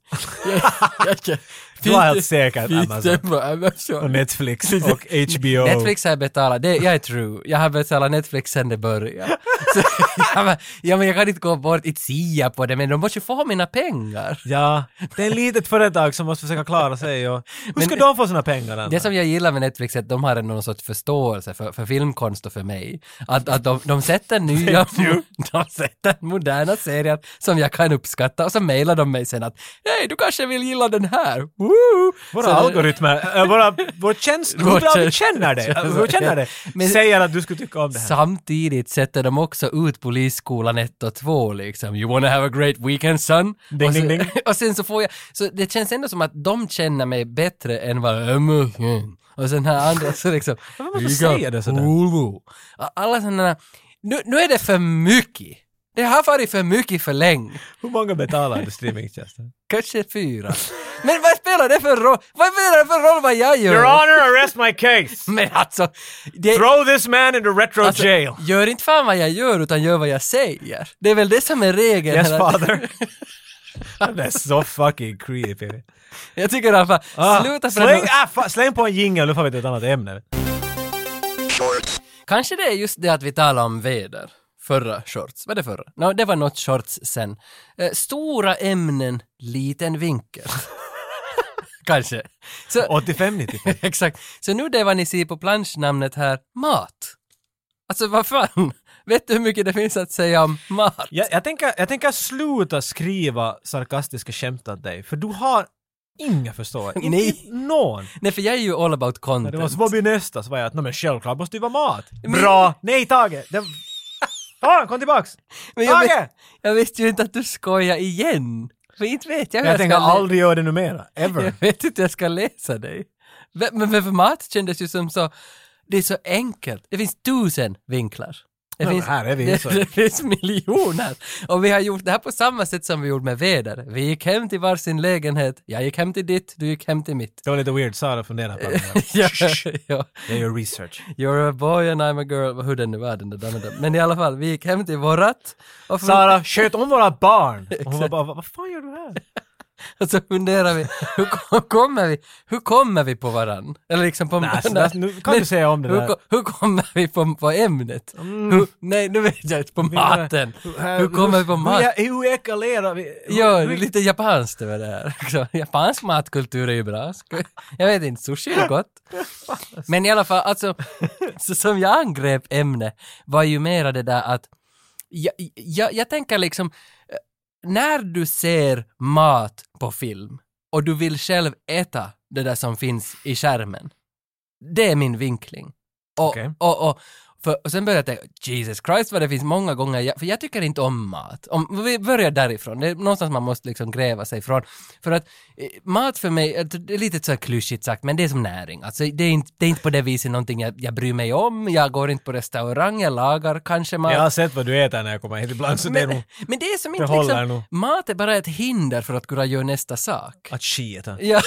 Speaker 1: Jag- jag-
Speaker 2: Du har helt säkert
Speaker 1: finns
Speaker 2: Amazon.
Speaker 1: det på
Speaker 2: och
Speaker 1: Amazon.
Speaker 2: Netflix och HBO.
Speaker 1: Netflix har jag betalat, det, jag är true. Jag har betalat Netflix sen det började. Så, ja, men, ja, men jag kan inte gå bort, inte sia på det, men de måste ju få mina pengar.
Speaker 2: Ja, det är ett litet företag som måste försöka klara sig och hur ska
Speaker 1: Men-
Speaker 2: de få sina pengar annars?
Speaker 1: Det som jag gillar med Netflix är att de har ändå någon sorts förståelse för, för filmkonst och för mig. Att, att de, de sätter nya, de sätter moderna serier som jag kan uppskatta och så mejlar de mig sen att hej, du kanske vill gilla den här. Woo!
Speaker 2: Våra
Speaker 1: Så det-
Speaker 2: algoritmer, äh, våra, vår käns- hur
Speaker 1: Vår
Speaker 2: bra vi
Speaker 1: käns-
Speaker 2: känner dig, äh, hur känner dig,
Speaker 1: Men-
Speaker 2: säger att du skulle tycka om det här.
Speaker 1: Samtidigt sätter de också ut Polisskolan 1 och 2 liksom. You wanna have a great weekend son?
Speaker 2: Ding,
Speaker 1: och, så,
Speaker 2: ding, ding.
Speaker 1: och sen så får jag, så det känns ändå som att de känner mig bättre än vad Amazon och sen här andra så liksom.
Speaker 2: Varför
Speaker 1: "We
Speaker 2: säger
Speaker 1: got
Speaker 2: det sådär?"
Speaker 1: Hulu. Alla sådana, där- nu, nu är det för mycket. Det har varit för mycket för länge.
Speaker 2: Hur många betalar du streamingtjänsten?
Speaker 1: Kanske fyra. Men vad spelar det för roll? Vad spelar det för roll vad jag gör?
Speaker 2: honor, arrest my case!
Speaker 1: Men alltså, det,
Speaker 2: Throw this man into retro
Speaker 1: Alltså, Gör inte fan vad jag gör utan gör vad jag säger. Det är väl det som är regeln.
Speaker 2: Yes
Speaker 1: här.
Speaker 2: father. That's so fucking creepy.
Speaker 1: Jag tycker i alla fall, sluta för
Speaker 2: släng,
Speaker 1: att...
Speaker 2: ah, fa, släng på en jingel, nu får vi till ett annat ämne.
Speaker 1: Kanske det är just det att vi talade om väder. Förra shorts, var det förra? No, det var något shorts sen. Eh, stora ämnen, liten vinkel. Kanske. Så,
Speaker 2: 85-95.
Speaker 1: exakt. Så nu det vad ni ser på planschnamnet här, mat. Alltså vad fan? Vet du hur mycket det finns att säga om mat?
Speaker 2: Jag, jag, tänker, jag tänker sluta skriva sarkastiska skämt åt dig, för du har inga förståelse. Inte
Speaker 1: Nej.
Speaker 2: någon.
Speaker 1: Nej, för jag är ju all about
Speaker 2: När
Speaker 1: content.
Speaker 2: det var Svobby nästa så var jag att "Nå, men självklart måste det vara mat.
Speaker 1: Men-
Speaker 2: Bra! Nej Tage! Det... Ah, kom tillbaks!
Speaker 1: Men jag,
Speaker 2: Tage!
Speaker 1: vis- jag visste ju inte att du skojar igen. För inte vet jag hur
Speaker 2: Jag tänker
Speaker 1: ska lä-
Speaker 2: aldrig göra det numera. Ever.
Speaker 1: Jag vet inte hur jag ska läsa dig. Men- Men men för mat kändes ju som så... Det är så enkelt. Det finns tusen vinklar. Det
Speaker 2: Ja, men
Speaker 1: finns,
Speaker 2: här är vi ju
Speaker 1: det,
Speaker 2: så.
Speaker 1: det finns miljoner. Och vi har gjort det här på samma sätt som vi gjorde med väder. Vi gick hem till varsin lägenhet. Jag gick hem till ditt, du gick hem till mitt.
Speaker 2: Det var lite weird, Sara funderade på
Speaker 1: Ja,
Speaker 2: det.
Speaker 1: ja.
Speaker 2: Jag gör research.
Speaker 1: You're a boy and I'm a girl. Hur den nu var, den där dammen. Men i alla fall, vi gick hem till vårat. Och
Speaker 2: Sara, sköt om våra barn! Och hon var bara, vad fan gör du här?
Speaker 1: Och så funderar vi, hur ko- kommer vi, hur kommer vi på varann? Eller liksom på...
Speaker 2: Nej, så där- nu kan du säga om det
Speaker 1: hur,
Speaker 2: där. Mm.
Speaker 1: ko- hur kommer vi på, på ämnet? Hur, nej, nu vet jag inte, på maten. Hur kommer vi på maten?
Speaker 2: Hur, hur ekalerar vi?
Speaker 1: Ja, det är lite japanskt över det här. Så, Japansk matkultur är ju bra. Ska- Jag vet inte, sushi är gott. Men i alla fall, alltså, så som jag angrep ämne var ju mera det där att jag, jag, jag tänker liksom, eh, när du ser mat på film och du vill själv äta det där som finns i skärmen, det är min vinkling. Och,
Speaker 2: Okej.
Speaker 1: och, och, för, och sen började jag tänka, Jesus Christ vad det finns många gånger, jag, för jag tycker inte om mat. Om, vi börjar därifrån, det är någonstans man måste liksom gräva sig ifrån. För att eh, mat för mig, eh, det är lite så här klyschigt sagt, men det är som näring. Alltså, det, är inte, det är inte på det viset någonting jag, jag bryr mig om, jag går inte på restaurang, jag lagar kanske mat.
Speaker 2: Jag har sett vad du äter när jag kommer hit ibland så alltså, det är
Speaker 1: men,
Speaker 2: nog
Speaker 1: men det är som
Speaker 2: det
Speaker 1: inte
Speaker 2: håller
Speaker 1: liksom,
Speaker 2: nog.
Speaker 1: mat är bara ett hinder för att kunna göra nästa sak.
Speaker 2: att skita.
Speaker 1: Ja,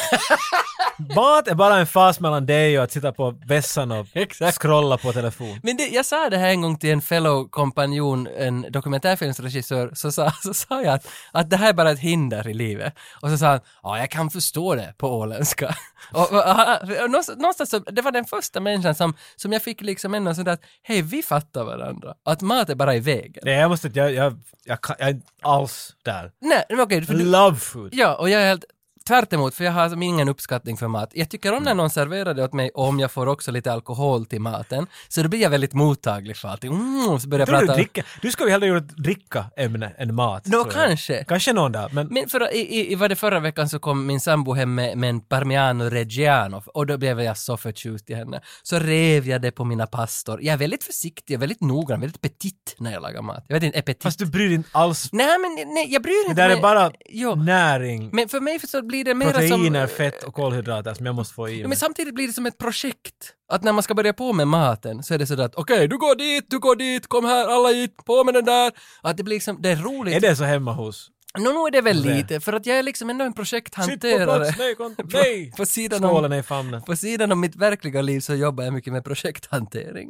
Speaker 2: Ah, Mat är bara en fas mellan dig och att sitta på vässan och
Speaker 1: Exakt.
Speaker 2: scrolla på telefon.
Speaker 1: Men det, jag sa det här en gång till en fellow kompanjon, en dokumentärfilmsregissör, så sa, så sa jag att, att det här är bara ett hinder i livet. Och så sa han, ja jag kan förstå det på åländska. och, och, han- och någonstans- någonstans så, det var den första människan som, som jag fick liksom ändå sådär att, hej vi fattar varandra. Att mat är bara i vägen.
Speaker 2: Nej, jag måste jag, jag, jag, kan, jag är inte alls där.
Speaker 1: Nej, men okej, för
Speaker 2: I
Speaker 1: du,
Speaker 2: love food.
Speaker 1: Ja, och jag är helt tvärt emot, för jag har som ingen uppskattning för mat. Jag tycker om när någon serverar det åt mig och om jag får också lite alkohol till maten, så då blir jag väldigt mottaglig för allting. Mm, så börjar
Speaker 2: Tror
Speaker 1: jag
Speaker 2: du
Speaker 1: prata...
Speaker 2: dricka? Du skulle ju hellre gjort dricka ämne än mat.
Speaker 1: Nå,
Speaker 2: tror jag.
Speaker 1: kanske.
Speaker 2: Kanske någon dag, men,
Speaker 1: Men för, i, i, i- var det förra veckan så kom min sambo hem med, med en Parmiano Reggiano och då blev jag så förtjust i henne. Så rev jag det på mina pastor. Jag är väldigt försiktig, jag är väldigt noggrann, väldigt petit när jag lagar mat. Jag vet inte, är petit?
Speaker 2: fast du bryr dig inte alls.
Speaker 1: Nej, men nej, jag bryr mig inte.
Speaker 2: Det där är
Speaker 1: mig.
Speaker 2: bara
Speaker 1: Jo.
Speaker 2: näring,
Speaker 1: Men för mig så blir det mera
Speaker 2: proteiner,
Speaker 1: som...
Speaker 2: fett och kolhydrater som jag måste få i
Speaker 1: Ja,
Speaker 2: mig.
Speaker 1: men samtidigt blir det som ett projekt. Att när man ska börja på med maten så är det sådär att okej, du går dit, du går dit, kom här, alla hit, på med den där. Att det blir liksom, det är roligt.
Speaker 2: Är det så hemma hos?
Speaker 1: Nå, nog är det väl
Speaker 2: Det.
Speaker 1: lite, för att jag är liksom ändå en
Speaker 2: Sitt på
Speaker 1: projekthanterare.
Speaker 2: plats, nej, kom,
Speaker 1: På-
Speaker 2: nej!
Speaker 1: På sidan,
Speaker 2: Skålen
Speaker 1: om,
Speaker 2: är i famnen.
Speaker 1: på sidan om mitt verkliga liv så jobbar jag mycket med projekthantering.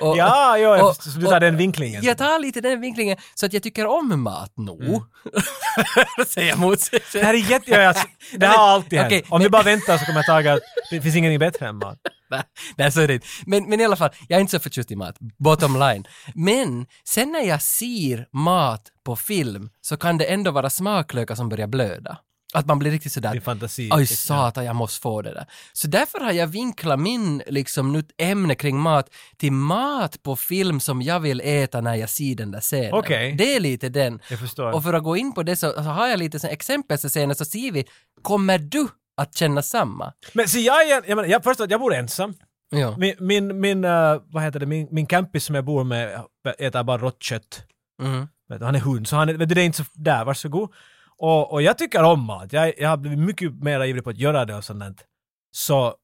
Speaker 1: Och-
Speaker 2: Ja, ja, jag
Speaker 1: och-
Speaker 2: förstår. du tar
Speaker 1: och-
Speaker 2: den vinklingen.
Speaker 1: Jag tar lite den vinklingen, så att jag tycker om mat nog. Säger jag mot sig
Speaker 2: Det
Speaker 1: själv.
Speaker 2: Mm. här är jätte... ja, Alltså, det här har alltid hänt.
Speaker 1: Okej,
Speaker 2: Om du
Speaker 1: men-
Speaker 2: bara väntar så kommer jag taga att det finns ingenting bättre än mat.
Speaker 1: Nej, Nej, så är det inte. Men, men i alla fall, jag är inte så förtjust i mat. Bottom line. Men sen när jag ser mat på film så kan det ändå vara smaklökar som börjar blöda. Att man blir riktigt
Speaker 2: Din
Speaker 1: sådär
Speaker 2: fantasi. Liksom.
Speaker 1: Oj satan, jag måste få det där. Så därför har jag vinklat min liksom, nytt ämne kring mat till mat på film som jag vill äta när jag ser den där scenen.
Speaker 2: Okej.
Speaker 1: Det är lite den.
Speaker 2: Jag förstår.
Speaker 1: Och för att gå in på det så, så har jag lite så exempel så senare så ser vi, kommer du att känna samma?
Speaker 2: Men se, jag, är- jag, menar, jag förstår att jag bor ensam.
Speaker 1: Ja.
Speaker 2: Min, min, min eh, vad heter det, min, min campis som jag bor med äter bara rått kött.
Speaker 1: Mm.
Speaker 2: Vet du, han är hund, så han är, vet du, det är inte så där, varsågod. Och, och jag tycker om mat. Jag, jag har blivit mycket mer ivrig på att göra det och sånt där. Så,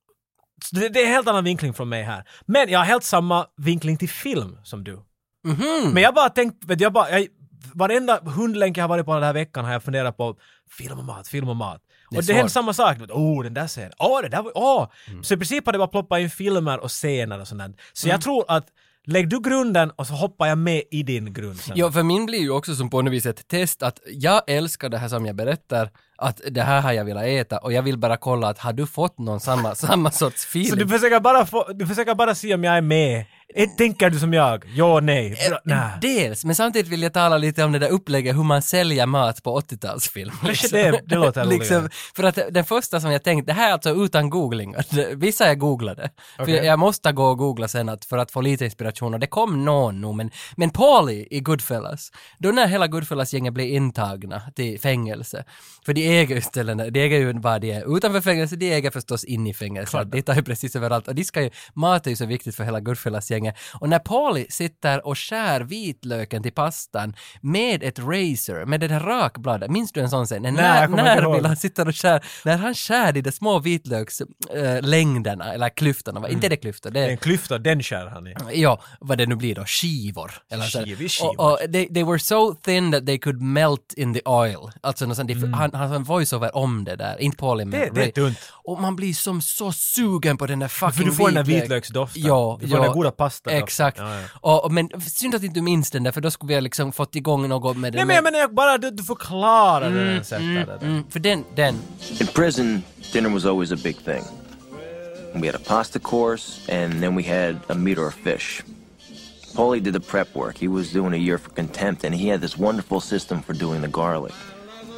Speaker 2: så det, det är en helt annan vinkling från mig här. Men jag har helt samma vinkling till film som du.
Speaker 1: Mhm.
Speaker 2: Men jag bara tänkt, vet du, jag bara, jag, varenda hundlänk jag har varit på den här veckan har jag funderat på film och mat, film och mat.
Speaker 1: Det är
Speaker 2: och det är helt
Speaker 1: svårt. Mm.
Speaker 2: samma sak. Åh, oh, den där scenen. Åh, det där var... Åh! Så i princip har det bara ploppat in filmer och scener och sånt där. Så jag tror att lägg du grunden och så hoppar jag med i din grund sen.
Speaker 1: Ja, för min blir ju också som på något vis ett test att jag älskar det här som jag berättar, att det här har jag velat äta och jag vill bara kolla att har du fått någon samma, samma sorts feeling?
Speaker 2: Så du försöker bara, få, du försöker bara se om jag är med. Eh, Tänker du som jag? Ja, nej,
Speaker 1: Eh,
Speaker 2: bra, nej.
Speaker 1: Dels, men samtidigt vill jag tala lite om det där upplägget hur man säljer mat på 80-talsfilm.
Speaker 2: det- det låter
Speaker 1: liksom,
Speaker 2: roligare.
Speaker 1: För att den första som jag tänkte, det här är alltså utan googling, vissa jag googlade. För
Speaker 2: Okej.
Speaker 1: jag, jag måste gå och googla sen att, för att få lite inspiration och det kom någon nog, men, men Paulie i Goodfellas, då när hela Goodfellas-gänget blev intagna till fängelse, för de äger ju ställena, de äger ju vad de är utanför fängelse, de äger förstås in i fängelse, de tar ju precis överallt och de ska ju, mat är ju så viktigt för hela Goodfellas-gänget. Och när Paulie sitter och skär vitlöken till pastan med ett razor, med det där rakbladet, minns du en sån scen? En
Speaker 2: Nej, jag
Speaker 1: när,
Speaker 2: kommer inte ihåg.
Speaker 1: närbild han sitter och skär, när han skär i de små vitlökslängderna, eller klyftorna, va? inte
Speaker 2: Mm.
Speaker 1: det klyftor, det
Speaker 2: Det är en klyfta, den skär han i.
Speaker 1: Ja, vad det nu blir då, skivor. Eller så.
Speaker 2: Skivor, skivor.
Speaker 1: Och, och they, they were so thin that they could melt in the oil. Alltså, något sånt, han, han har en voiceover om det där, inte Paul men
Speaker 2: Mm. Det- det är
Speaker 1: Ray.
Speaker 2: dunt.
Speaker 1: Och man blir som så sugen på den där fucking
Speaker 2: För du får den där
Speaker 1: vitlök.
Speaker 2: vitlöksdoften.
Speaker 1: Ja,
Speaker 2: du får den där
Speaker 1: ja.
Speaker 2: goda kastat. upp.
Speaker 1: Exakt.
Speaker 2: Ja, ja.
Speaker 1: Och, och, men synd att inte du minns den där, för då skulle vi ha liksom fått igång något med den.
Speaker 2: Nej men jag menar jag bara du, du förklarar det den sättet.
Speaker 1: mm, mm, för den, den,
Speaker 4: In prison, dinner was always a big thing. We had a pasta course, and then we had a meat or a fish. Paulie did the prep work. He was doing a year for contempt, and he had this wonderful system for doing the garlic.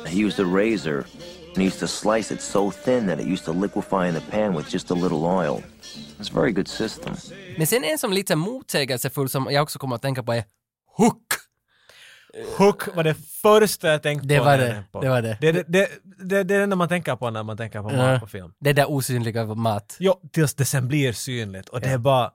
Speaker 4: He used a razor, and he used to slice it so thin that it used to liquefy in the pan with just a little oil. It's a very good system.
Speaker 1: Men sen en som lite motsägelsefull som jag också kommer att tänka på är Hook.
Speaker 2: Hook var det första jag tänkte
Speaker 1: Det
Speaker 2: på.
Speaker 1: var
Speaker 2: när jag
Speaker 1: det,
Speaker 2: tänkte på.
Speaker 1: det var det.
Speaker 2: Det, det, det, det, det är det enda man tänker på när man tänker på mat på film.
Speaker 1: Det där osynliga mat.
Speaker 2: Jo, tills det sen blir synligt och det är bara...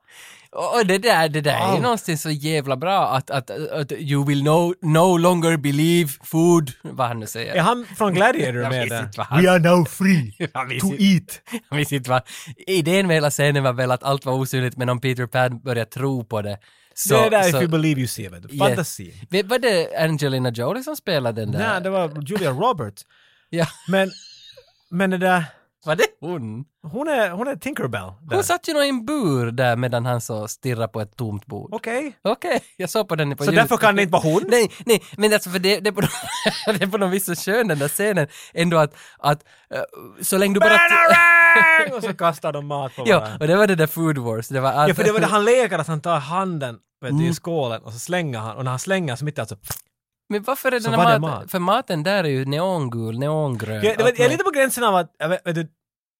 Speaker 1: Och det där, det där är ju
Speaker 2: Allt.
Speaker 1: någonstans så jävla bra att, att, att, you will no, no longer believe food, vad han nu säger.
Speaker 2: Är han från Gladiator
Speaker 1: Jag
Speaker 2: med
Speaker 1: minns
Speaker 2: där?
Speaker 1: inte vad han-
Speaker 2: are now free
Speaker 1: Jag minns inte-
Speaker 2: eat.
Speaker 1: jag minns inte vad... Idén med hela scenen var väl att allt var osynligt men om Peter Pan börjar tro på det så...
Speaker 2: det är där
Speaker 1: så,
Speaker 2: If You Believe You See, vet du.
Speaker 1: Yes.
Speaker 2: Fantasi.
Speaker 1: Vet- Var det Angelina Jolie som spelade den där?
Speaker 2: Nej, det var Julia Roberts.
Speaker 1: Ja,
Speaker 2: Men, men det där...
Speaker 1: var det hon?
Speaker 2: Hon är, hon är Tinkerbell. där.
Speaker 1: Hon satt ju nog i en bur där medan han så stirrade på ett tomt bord.
Speaker 2: Okej.
Speaker 1: Okej, jag såg på den på
Speaker 2: Så
Speaker 1: ljud.
Speaker 2: därför kan det inte vara hon?
Speaker 1: Nej, nej, men alltså för det, det, är på, det är på något vis så skön den där scenen ändå att, att eh, så länge du bara...
Speaker 2: Banarang! Och så kastar de mat på
Speaker 1: Äh! ja,
Speaker 2: varandra.
Speaker 1: och det var det där Food Wars, det var allt.
Speaker 2: Ja, för det var det han leker att han tar handen vet
Speaker 1: Mm.
Speaker 2: du, i skålen och så slänger han. Och när han slänger så mitt i allt så...
Speaker 1: Men varför är den
Speaker 2: var
Speaker 1: här
Speaker 2: det
Speaker 1: maten,
Speaker 2: mat.
Speaker 1: för maten där är ju neongul, neongrön.
Speaker 2: Jag, det var,
Speaker 1: allt
Speaker 2: jag är
Speaker 1: möjligt.
Speaker 2: lite på gränsen av att, jag vet, vet du,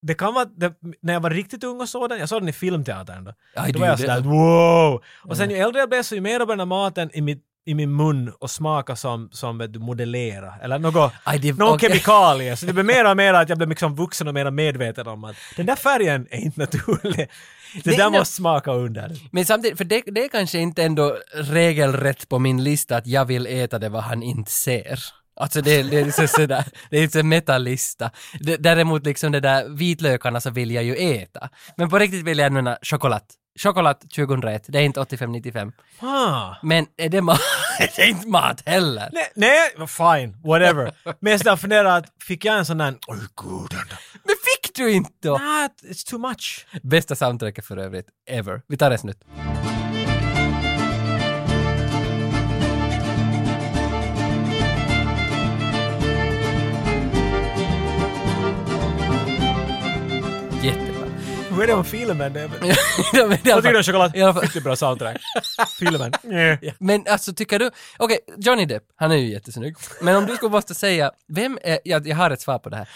Speaker 2: det kan vara, det, när jag var riktigt ung och såg den, jag såg den i filmteatern då.
Speaker 1: Aj,
Speaker 2: då
Speaker 1: du
Speaker 2: var jag
Speaker 1: gjorde- Mm.
Speaker 2: sådär wow! Och sen ju äldre jag blev så ju mer av den här maten i, mitt, i min mun och smaka som, som vet du, modellera eller något,
Speaker 1: Aj, det-
Speaker 2: någon
Speaker 1: okej.
Speaker 2: kemikalie. Så det blev mer och mer att jag blev liksom vuxen och mer medveten om att den där färgen är inte naturlig. Det
Speaker 1: Nej,
Speaker 2: där
Speaker 1: nej.
Speaker 2: måste smaka under.
Speaker 1: Men samtidigt, för det, det är kanske inte ändå regelrätt på min lista att jag vill äta det vad han inte ser. Alltså det, det är liksom sådär, det är liksom en metalista. D- Däremot liksom det där vitlökarna så vill jag ju äta. Men på riktigt vill jag nämna choklad. Choklad 2001, det är inte 85-95.
Speaker 2: Ah.
Speaker 1: Men är det mat? det är inte mat heller.
Speaker 2: Nej, nej, fine, whatever. Men jag sådär funderar att fick jag en sån där, oj gud, den där-
Speaker 1: Men fick du inte då?
Speaker 2: ah, it's too much.
Speaker 1: Bästa soundtracket för övrigt, ever. Vi tar en snutt. Jättebra.
Speaker 2: Hur är det om filmen? Det är-
Speaker 1: Ja, men i alla
Speaker 2: Vad tycker du
Speaker 1: fall-
Speaker 2: om choklad?
Speaker 1: i alla fall-
Speaker 2: Riktigt bra soundtrack. Filmen. Yeah.
Speaker 1: Men alltså tycker du, okej, Johnny Depp, han är ju jättesnygg. Men om du skulle måste säga, vem är, jag, jag har ett svar på det här.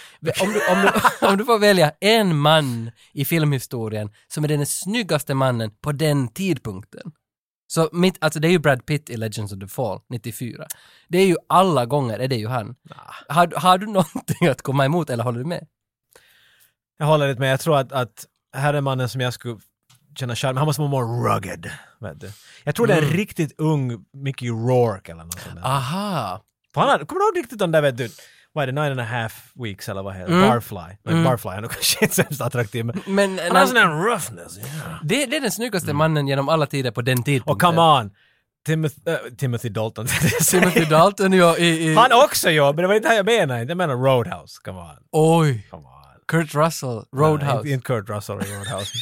Speaker 1: Om du, om, du, om du får välja en man i filmhistorien som är den snyggaste mannen på den tidpunkten. Så mitt, alltså det är ju Brad Pitt i Legends of the Fall 94. Det är ju alla gånger, är det ju han. Har, du- har du någonting att komma emot eller håller du med?
Speaker 2: Jag håller lite med. Jag tror att, att här är mannen som jag skulle känna charm. Han måste vara more rugged. Vet du. Jag tror
Speaker 1: Mm.
Speaker 2: det är en riktigt ung Mickey Rourke eller något sånt
Speaker 1: Ah.
Speaker 2: där.
Speaker 1: Aha!
Speaker 2: För Han hade, kommer du ihåg riktigt den där vet du? Vad är det? Nine and a half weeks eller vad
Speaker 1: Mm.
Speaker 2: heter det? Barfly. Men Barfly han är nog kanske inte sämst attraktiv men...
Speaker 1: Men
Speaker 2: Han har sån där roughness. ja.
Speaker 1: det, det är den snyggaste mannen genom alla tider på den tidpunkten.
Speaker 2: Och come on! Timothy, äh, Timothy Dalton.
Speaker 1: Timothy Dalton ja, i, i...
Speaker 2: han också ja, men det var inte det jag menade. Jag menar Roadhouse. Come on.
Speaker 1: Oj!
Speaker 2: Come on.
Speaker 1: Kurt Russell, Roadhouse.
Speaker 2: Nej, inte- inte Kurt Russell i Roadhouse.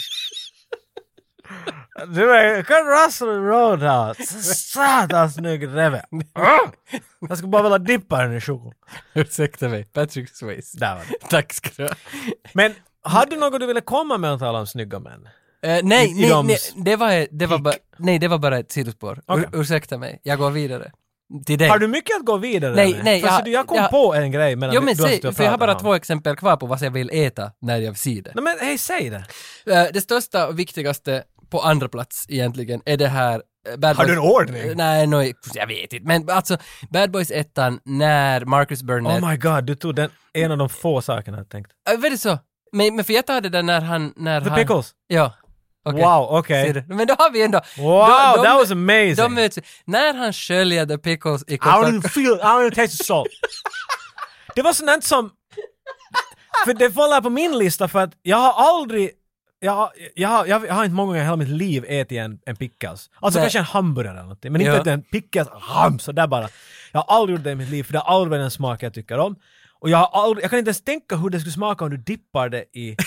Speaker 2: du är Kurt Russell i Roadhouse. Satans snygg reve.
Speaker 1: Mm.
Speaker 2: Ah! Jag skulle bara vilja dippa den i choklad.
Speaker 1: Ursäkta mig, Patrick Swayze.
Speaker 2: Där var det.
Speaker 1: Tack ska du ha.
Speaker 2: Men hade du något du ville komma med att tala om snygga män?
Speaker 1: Eh, nej,
Speaker 2: I- i
Speaker 1: nej,
Speaker 2: de
Speaker 1: nej,
Speaker 2: s-
Speaker 1: det var, det var
Speaker 2: pick.
Speaker 1: bara, nej, det var bara ett sidospår.
Speaker 2: Okej.
Speaker 1: Ur, ursäkta mig, jag går vidare. Till dig.
Speaker 2: Har du mycket att gå vidare
Speaker 1: Nej,
Speaker 2: med?
Speaker 1: nej,
Speaker 2: För
Speaker 1: jag-
Speaker 2: så du, jag kom
Speaker 1: jag-
Speaker 2: på en grej medan
Speaker 1: Jo
Speaker 2: vi-
Speaker 1: men
Speaker 2: du har
Speaker 1: säg,
Speaker 2: stått och
Speaker 1: för jag har
Speaker 2: pratat
Speaker 1: bara
Speaker 2: om.
Speaker 1: två exempel kvar på vad jag vill äta när jag ser det.
Speaker 2: Nej men hej, säg det.
Speaker 1: Eh, det största och viktigaste på andra plats egentligen är det här eh, Bad
Speaker 2: Har du
Speaker 1: Boys-
Speaker 2: en ordning?
Speaker 1: Eh, Nej, nej, jag vet inte. Men alltså, Bad Boys 1 när Marcus Burnett...
Speaker 2: Oh my god, du tog den, en av de få sakerna jag tänkt.
Speaker 1: Eh, Var det så? Men, men för jag tar det där när han... När
Speaker 2: The
Speaker 1: han,
Speaker 2: Pickles!
Speaker 1: Ja. Okej.
Speaker 2: Wow, okej.
Speaker 1: Ser du? Men då har vi ändå...
Speaker 2: Wow,
Speaker 1: då, de,
Speaker 2: that was amazing!
Speaker 1: De möts vi. När han sköljer the pickles i
Speaker 2: I don't
Speaker 1: kontakt-
Speaker 2: even feel, I don't even taste the salt. det var sånt som... För det faller på min lista för att jag har aldrig... Jag, har- jag, har- jag, har- jag har inte många gånger i hela mitt liv ätit en, en pickles. Alltså
Speaker 1: Nej.
Speaker 2: kanske en hamburgare eller någonting, men inte
Speaker 1: Ja.
Speaker 2: ätit en pickles, ham, sådär bara. Jag har aldrig gjort det i mitt liv, för det har aldrig varit en smak jag tycker om. Och jag, har aldrig, jag kan inte ens tänka hur det skulle smaka om du dippar det i,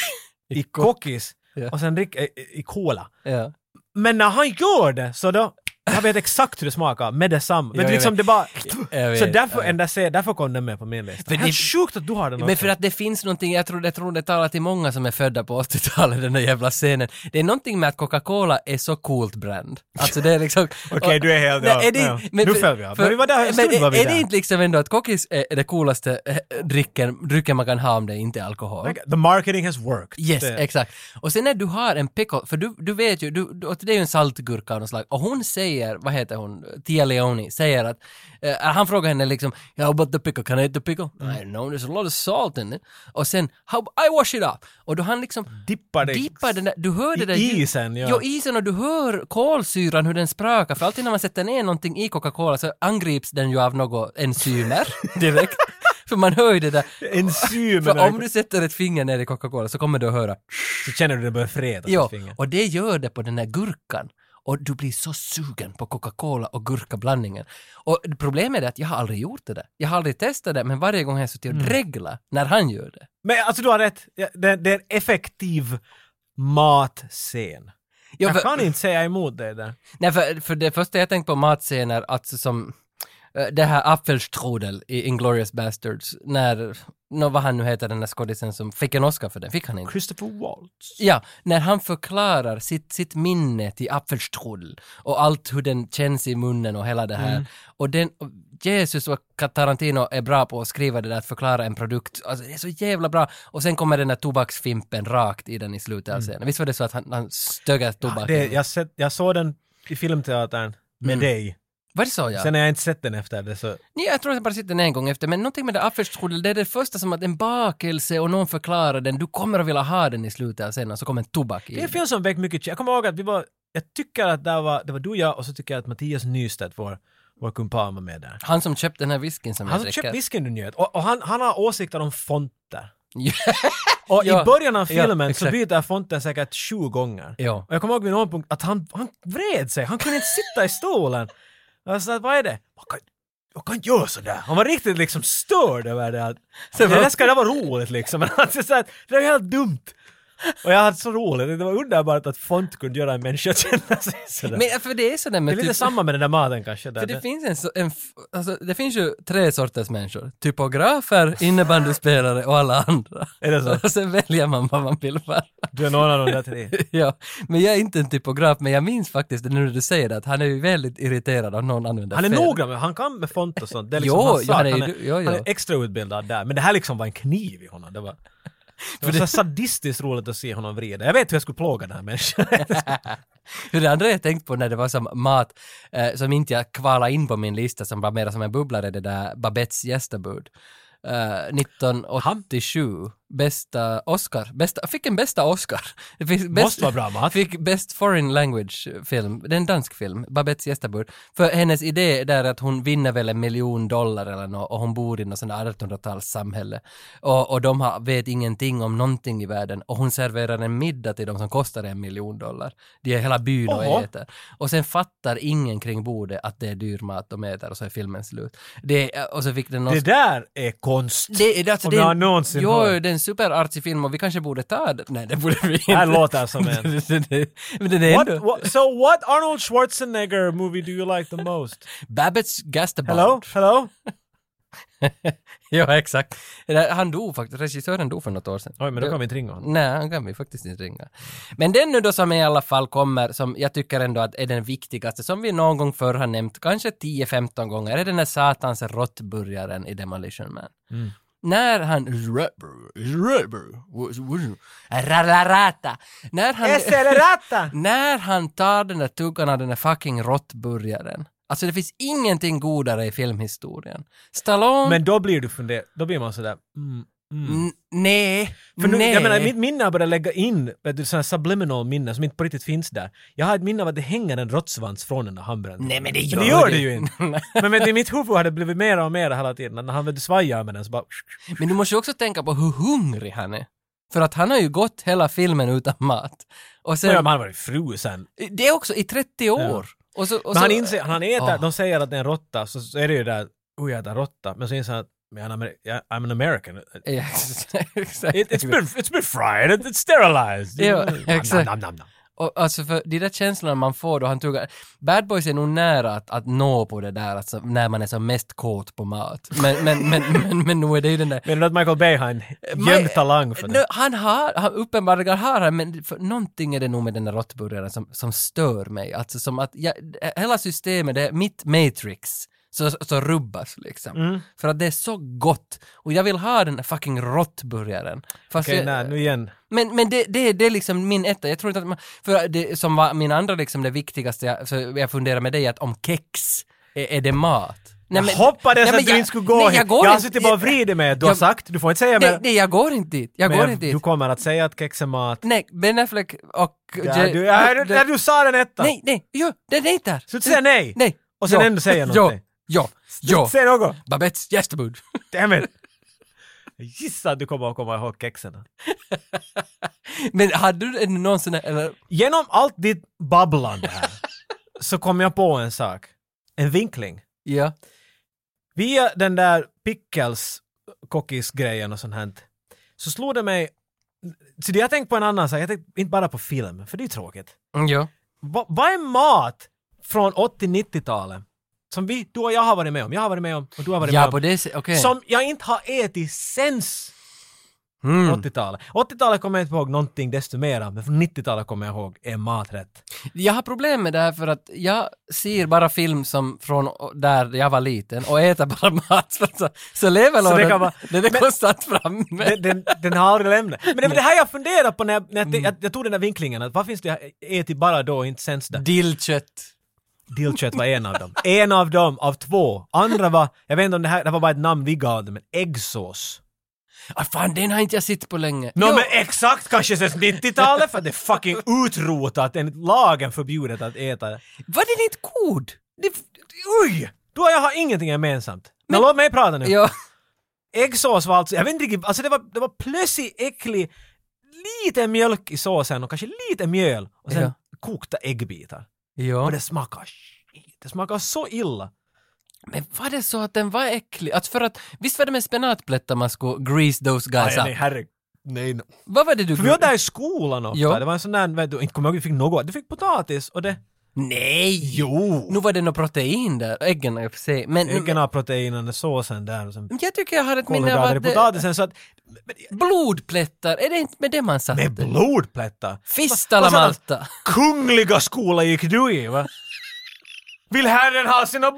Speaker 2: i kokis
Speaker 1: Ja.
Speaker 2: och sen dricker, i, i cola.
Speaker 1: Ja.
Speaker 2: Men när han gör det så då, jag vet exakt hur det smakar med detsamma.
Speaker 1: Jo,
Speaker 2: Men
Speaker 1: jag
Speaker 2: liksom
Speaker 1: vet.
Speaker 2: det bara...
Speaker 1: Jag vet,
Speaker 2: så därför,
Speaker 1: jag vet.
Speaker 2: ända se, därför kom den med på min lista.
Speaker 1: För
Speaker 2: Helt
Speaker 1: det-
Speaker 2: sjukt att du har den
Speaker 1: Men
Speaker 2: också.
Speaker 1: för att det finns någonting, jag tror, jag tror det talar till många som är födda på 80-talet, den där jävla scenen. Det är någonting med att Coca-Cola är så coolt brand. Alltså det är liksom...
Speaker 2: Okej, du är helt- ja,
Speaker 1: Nej, är det,
Speaker 2: ja.
Speaker 1: men
Speaker 2: Nu
Speaker 1: för-
Speaker 2: föll vi av.
Speaker 1: för-
Speaker 2: Men vi var där, en
Speaker 1: men
Speaker 2: stund var vi
Speaker 1: är, är
Speaker 2: där.
Speaker 1: det inte liksom ändå att kokis är är det coolaste eh, drycken, drycken man kan ha om det inte är alkohol?
Speaker 2: The marketing has worked.
Speaker 1: Yes,
Speaker 2: det,
Speaker 1: exakt. Och sen när du har en pickle, för du, du vet ju, du, du, och det är ju en saltgurka av något slag, och hon säger, vad heter hon, Tia Leoni, säger att, eh, han frågar henne liksom, yeah, how about the pickle, can I eat the pickle?
Speaker 2: Mm.
Speaker 1: I know, there's a lot of salt in it. Och sen, how, I wash it up. Och då han liksom
Speaker 2: Dippar det-
Speaker 1: dippar den där, du hör det
Speaker 2: I
Speaker 1: där ljud-
Speaker 2: isen, ja.
Speaker 1: Jo, isen och du hör kolsyran hur den sprakar, för alltid när man sätter ner någonting i Coca-Cola så angrips den ju av något enzymer direkt. För man hör ju det där.
Speaker 2: Enzymen.
Speaker 1: För om du sätter ett finger ner i Coca-Cola så kommer du att höra
Speaker 2: Så känner du det börjar freda
Speaker 1: Jo,
Speaker 2: på fingret.
Speaker 1: och det gör det på den här gurkan. Och du blir så sugen på Coca-Cola och gurkablandningen. Och problemet är att jag har aldrig gjort det där. Jag har aldrig testat det, men varje gång har jag suttit och dreglat när han gör det.
Speaker 2: Men alltså du har rätt, Ja, det, det är en effektiv matscen.
Speaker 1: Jo,
Speaker 2: Jag
Speaker 1: för-
Speaker 2: kan inte säga emot dig där.
Speaker 1: Nej, för, för det första jag tänkte på matscener, alltså som eh, det här Apfelstrudel i Inglourious Bastards, när, nå vad han nu heter, den där skådisen som fick en Oscar för den, fick han inte?
Speaker 2: Christopher Waltz.
Speaker 1: Ja, när han förklarar sitt, sitt minne till apfelstrudel och allt hur den känns i munnen och hela det här.
Speaker 2: Mm.
Speaker 1: Och den, och Jesus och Tarantino är bra på att skriva det där, att förklara en produkt. Alltså det är så jävla bra. Och sen kommer den där tobaksfimpen rakt i den i slutet av scenen. Visst var det så att han, han stöggar
Speaker 2: Mm. Ja,
Speaker 1: tobaken?
Speaker 2: det, jag, sett, jag såg den i filmteatern med
Speaker 1: Mm.
Speaker 2: dig.
Speaker 1: Var det så ja?
Speaker 2: Sen har jag inte sett den efter det så...
Speaker 1: Nej, jag tror att jag bara sett den en gång efter, men någonting med det apfelstrudel, det är det första som att en bakelse och någon förklarar den, du kommer att vilja ha den i slutet av scenen, så kommer en tobak i.
Speaker 2: Det är en film som väckt mycket Jag kommer ihåg att vi var... Jag tycker att det var, det var du och jag och så tycker jag att Mattias Nystedt, vår, vår kumpan, var med där.
Speaker 1: Han som köpte den här whiskyn som
Speaker 2: Han
Speaker 1: jag
Speaker 2: som
Speaker 1: dricker.
Speaker 2: köpt whiskyn du njöt. Och, och han, han har åsikter om fonter.
Speaker 1: Ja.
Speaker 2: Och
Speaker 1: Ja.
Speaker 2: i början av
Speaker 1: Ja,
Speaker 2: filmen så
Speaker 1: exakt.
Speaker 2: byter fonten säkert sju gånger.
Speaker 1: Ja.
Speaker 2: Och jag kommer ihåg vid någon punkt att han, han vred sig, han kunde inte sitta i stolen. Jag sa att vad är det? Man kan, jag kan inte göra sådär. Han var riktigt liksom störd över det. Att, det där ska det vara roligt liksom. Men han sa att det är helt dumt. Och jag hade så roligt, det var underbart att font kunde göra en människa känna sig sådär.
Speaker 1: Men för det är sådär
Speaker 2: det
Speaker 1: med
Speaker 2: är lite
Speaker 1: typ,
Speaker 2: samma med den där maten kanske. Där.
Speaker 1: för det finns en, så- en f- alltså, det finns ju tre sorters människor. Typografer, innebandyspelare och alla andra.
Speaker 2: Är det så?
Speaker 1: Och sen väljer man vad man vill vara.
Speaker 2: Du är någon av de där tre.
Speaker 1: ja, men jag är inte en typograf, men jag minns faktiskt nu när du säger det att han är ju väldigt irriterad om någon använder
Speaker 2: Han är
Speaker 1: fel.
Speaker 2: noggrann, med- han kan med font och sånt. Det är liksom
Speaker 1: Jo,
Speaker 2: hans
Speaker 1: jo,
Speaker 2: sak.
Speaker 1: han är ju
Speaker 2: han, är,
Speaker 1: du- jo, jo.
Speaker 2: han är extrautbildad där. Men det här liksom var en kniv i honom. Det var, det var så sadistiskt roligt att se honom vrida. Jag vet hur jag skulle plåga den här människan.
Speaker 1: För det andra jag tänkt på när det var som mat eh, som inte jag kvala in på min lista som var mer som en bubblare, det där Babettes gästabud. Eh, 1987, bästa Oscar, bästa, fick en bästa Oscar. Det finns bäst-
Speaker 2: Måste vara bra mat.
Speaker 1: Fick Best Foreign Language film, det är en dansk film, Babettes gästabud. För hennes idé där är att hon vinner väl en miljon dollar eller något och hon bor i något sånt där 1800-talssamhälle. Och, och de har, vet ingenting om någonting i världen och hon serverar en middag till de som kostar en miljon dollar. Det är hela byn och
Speaker 2: Oho.
Speaker 1: äter. Och sen fattar ingen kring bordet att det är dyr mat de äter och så är filmen slut. Det, är- och så fick den
Speaker 2: Det
Speaker 1: Oscar.
Speaker 2: där är konst.
Speaker 1: Alltså- Det, är- alltså,
Speaker 2: Om
Speaker 1: det är
Speaker 2: jag
Speaker 1: en-
Speaker 2: någonsin
Speaker 1: jo,
Speaker 2: hör.
Speaker 1: det är en superartsig film och vi kanske borde ta det. Nej, det borde vi inte.
Speaker 2: Det här låter som en...
Speaker 1: Men den är
Speaker 2: What,
Speaker 1: ändå...
Speaker 2: what, so what Arnold Schwarzenegger movie do you like the most?
Speaker 1: Babbitts Gasterbond.
Speaker 2: Hello? Hello?
Speaker 1: ja, exakt. Det där- Han dog faktiskt, regissören dog för något år sedan.
Speaker 2: Oj, men då kan vi inte ringa honom.
Speaker 1: Nej, han kan vi faktiskt inte ringa. Men den nu då som i alla fall kommer, som jag tycker ändå att är den viktigaste, som vi någon gång förr har nämnt, kanske 10-15 gånger, är den där satans råttburgaren i Demolition Man.
Speaker 2: Mm.
Speaker 1: När han... Rararata. När han...
Speaker 2: Accelerata!
Speaker 1: När han tar den där tuggan av den där fucking råttburgaren. Alltså det finns ingenting godare i filmhistorien. Stallone...
Speaker 2: Men då blir du funder... Då blir man sådär... Mm.
Speaker 1: N- nej.
Speaker 2: För nu,
Speaker 1: nej.
Speaker 2: jag menar, mitt minne har börjat lägga in vet du, sådana subliminal minnen som inte på riktigt finns där. Jag har ett minne av att det hänger en råttsvans från den där hamburgaren.
Speaker 1: Nej men det gör,
Speaker 2: Men det gör det ju inte. Men vet, du, i mitt huvud har det blivit mer och mer hela tiden. Att När han vet, du, svajar med den så bara...
Speaker 1: Men du måste ju också tänka på hur hungrig han är. För att han har ju gått hela filmen utan mat. Och
Speaker 2: Men
Speaker 1: sen,
Speaker 2: han har varit frusen.
Speaker 1: det är också i 30 år. Och så, och
Speaker 2: Men
Speaker 1: så,
Speaker 2: han inser, han äter,
Speaker 1: Ah.
Speaker 2: de säger att det är en råtta, så, så är det ju där, oh jag äter råtta, men så inser han att "Men jag är amer- jag- I'm an American. It,
Speaker 1: Ja, exakt.
Speaker 2: it's, been, it's been fried, it, it's sterilized.
Speaker 1: Ja,
Speaker 2: Nom,
Speaker 1: exakt.
Speaker 2: nom, nom, nom.
Speaker 1: och alltså för de där känslorna man får då han tuggar, Bad Boys är nog nära att, att nå på det där, alltså, när man är som mest kåt på mat. Men, men, men, men, men, nu är det ju den där
Speaker 2: Menar du att Michael Bay har en
Speaker 1: Man-
Speaker 2: gömd talang för
Speaker 1: Nå,
Speaker 2: det?
Speaker 1: Han har, han uppenbarligen har han, men för, någonting är det nog med den där råttburgaren som, som stör mig. Alltså som att, jag, hela systemet, det är mitt matrix, så, så rubbas liksom.
Speaker 2: Mm.
Speaker 1: För att det är så gott. Och jag vill ha den där fucking råttburgaren. Fast
Speaker 2: Okej,
Speaker 1: jag-
Speaker 2: nej, nu igen.
Speaker 1: men, men det, det, det är liksom min etta. Jag tror inte att man, för det som var min andra liksom det viktigaste, jag, så jag funderar med dig att om kex, är, är det mat? Nej,
Speaker 2: jag hoppades att
Speaker 1: men
Speaker 2: du
Speaker 1: jag-
Speaker 2: inte skulle gå
Speaker 1: nej,
Speaker 2: hit.
Speaker 1: Jag, går
Speaker 2: har
Speaker 1: inte-
Speaker 2: suttit bara och vridit mig. Du har
Speaker 1: Jag-
Speaker 2: sagt, du får inte säga
Speaker 1: Nej,
Speaker 2: mer.
Speaker 1: nej, jag går inte dit. Jag går
Speaker 2: Men
Speaker 1: inte dit.
Speaker 2: du kommer att säga att kex är mat.
Speaker 1: Nej, Ben Affleck och...
Speaker 2: Ja, du, ja, du, ja, du sa den etta!
Speaker 1: nej, nej, jo, det är inte där.
Speaker 2: Sluta säga nej!
Speaker 1: Nej.
Speaker 2: Och sen
Speaker 1: ja,
Speaker 2: ändå säga
Speaker 1: Ja,
Speaker 2: någonting.
Speaker 1: ja, ja.
Speaker 2: Säg något!
Speaker 1: Babettes gästabud.
Speaker 2: Damn it! Jag gissar att du kommer att komma ihåg kexen.
Speaker 1: Men hade du en- någon sån här, eller?
Speaker 2: Genom allt ditt babblande här så kom jag på en sak. En vinkling.
Speaker 1: Ja.
Speaker 2: Via den där pickles grejen och sånt här så slog det mig... Så det jag tänkte på en annan sak, jag tänkte inte bara på film, för det är ju tråkigt.
Speaker 1: Mm, ja.
Speaker 2: Va- Vad är mat från 80-90-talet som vi, du och jag har varit med om, jag har varit med om och du har varit med
Speaker 1: Ja,
Speaker 2: om.
Speaker 1: på det sättet, okej.
Speaker 2: Som jag inte har ätit sens
Speaker 1: Mm.
Speaker 2: 80-talet. 80-talet kommer jag inte ihåg någonting desto mera, men från 90-talet kommer jag ihåg en maträtt.
Speaker 1: Jag har problem med det här för att jag ser bara film som från där jag var liten och äter bara mat. Så, så lever
Speaker 2: Så det
Speaker 1: lådan-
Speaker 2: kan vara-
Speaker 1: den är
Speaker 2: men-
Speaker 1: konstant framme.
Speaker 2: Den, den, den har aldrig lämnat. Men det var det här jag funderade på när jag, när jag,
Speaker 1: Mm.
Speaker 2: jag, jag tog den där vinklingen, att vad finns det jag ätit bara då och inte sens där?
Speaker 1: Dillkött.
Speaker 2: Dillkött var en av dem. En av dem av två. Andra var, jag vet inte om det här, det här var bara ett namn vi gav det, men äggsås.
Speaker 1: Ah, fan, den har inte jag sett på länge.
Speaker 2: Nå
Speaker 1: Jo.
Speaker 2: men exakt kanske sen 90-talet för det är fucking utrotat, enligt lagen förbjudet att äta det.
Speaker 1: Var den inte god?
Speaker 2: Det- Uj! Du och jag har ingenting gemensamt.
Speaker 1: Men-
Speaker 2: Men, låt mig prata nu.
Speaker 1: Ja.
Speaker 2: Äggsås var alltså, jag vet inte riktigt, alltså det var, det var plötsligt äcklig, lite mjölk i såsen och kanske lite mjöl och sen
Speaker 1: Ja.
Speaker 2: kokta äggbitar.
Speaker 1: ja.
Speaker 2: Och det smakar skit. Det smakar så illa.
Speaker 1: Men var det så att den var äcklig? Att för att, visst var det med spenatplättar man skulle grease those guys up?
Speaker 2: herregud. Nej, nej.
Speaker 1: Vad var det du...
Speaker 2: För vi var där i skolan ofta.
Speaker 1: Jo.
Speaker 2: Det var en sån där, vet du, inte kommer jag ihåg, vi fick något. Du fick potatis och det...
Speaker 1: Nej!
Speaker 2: Jo!
Speaker 1: Nu var det något protein där, äggen i och för sig. Men,
Speaker 2: Äggen har proteinen och såsen där och sen
Speaker 1: men jag tycker jag har ett minne av
Speaker 2: kolhydrater i
Speaker 1: att eh, det,
Speaker 2: potatisen så att... Men,
Speaker 1: blodplättar, är det inte med det man satte?
Speaker 2: med blodplättar!
Speaker 1: Fistala
Speaker 2: Vad sa han?
Speaker 1: Malta!
Speaker 2: Kungliga skola gick du i va? Vill herren ha sina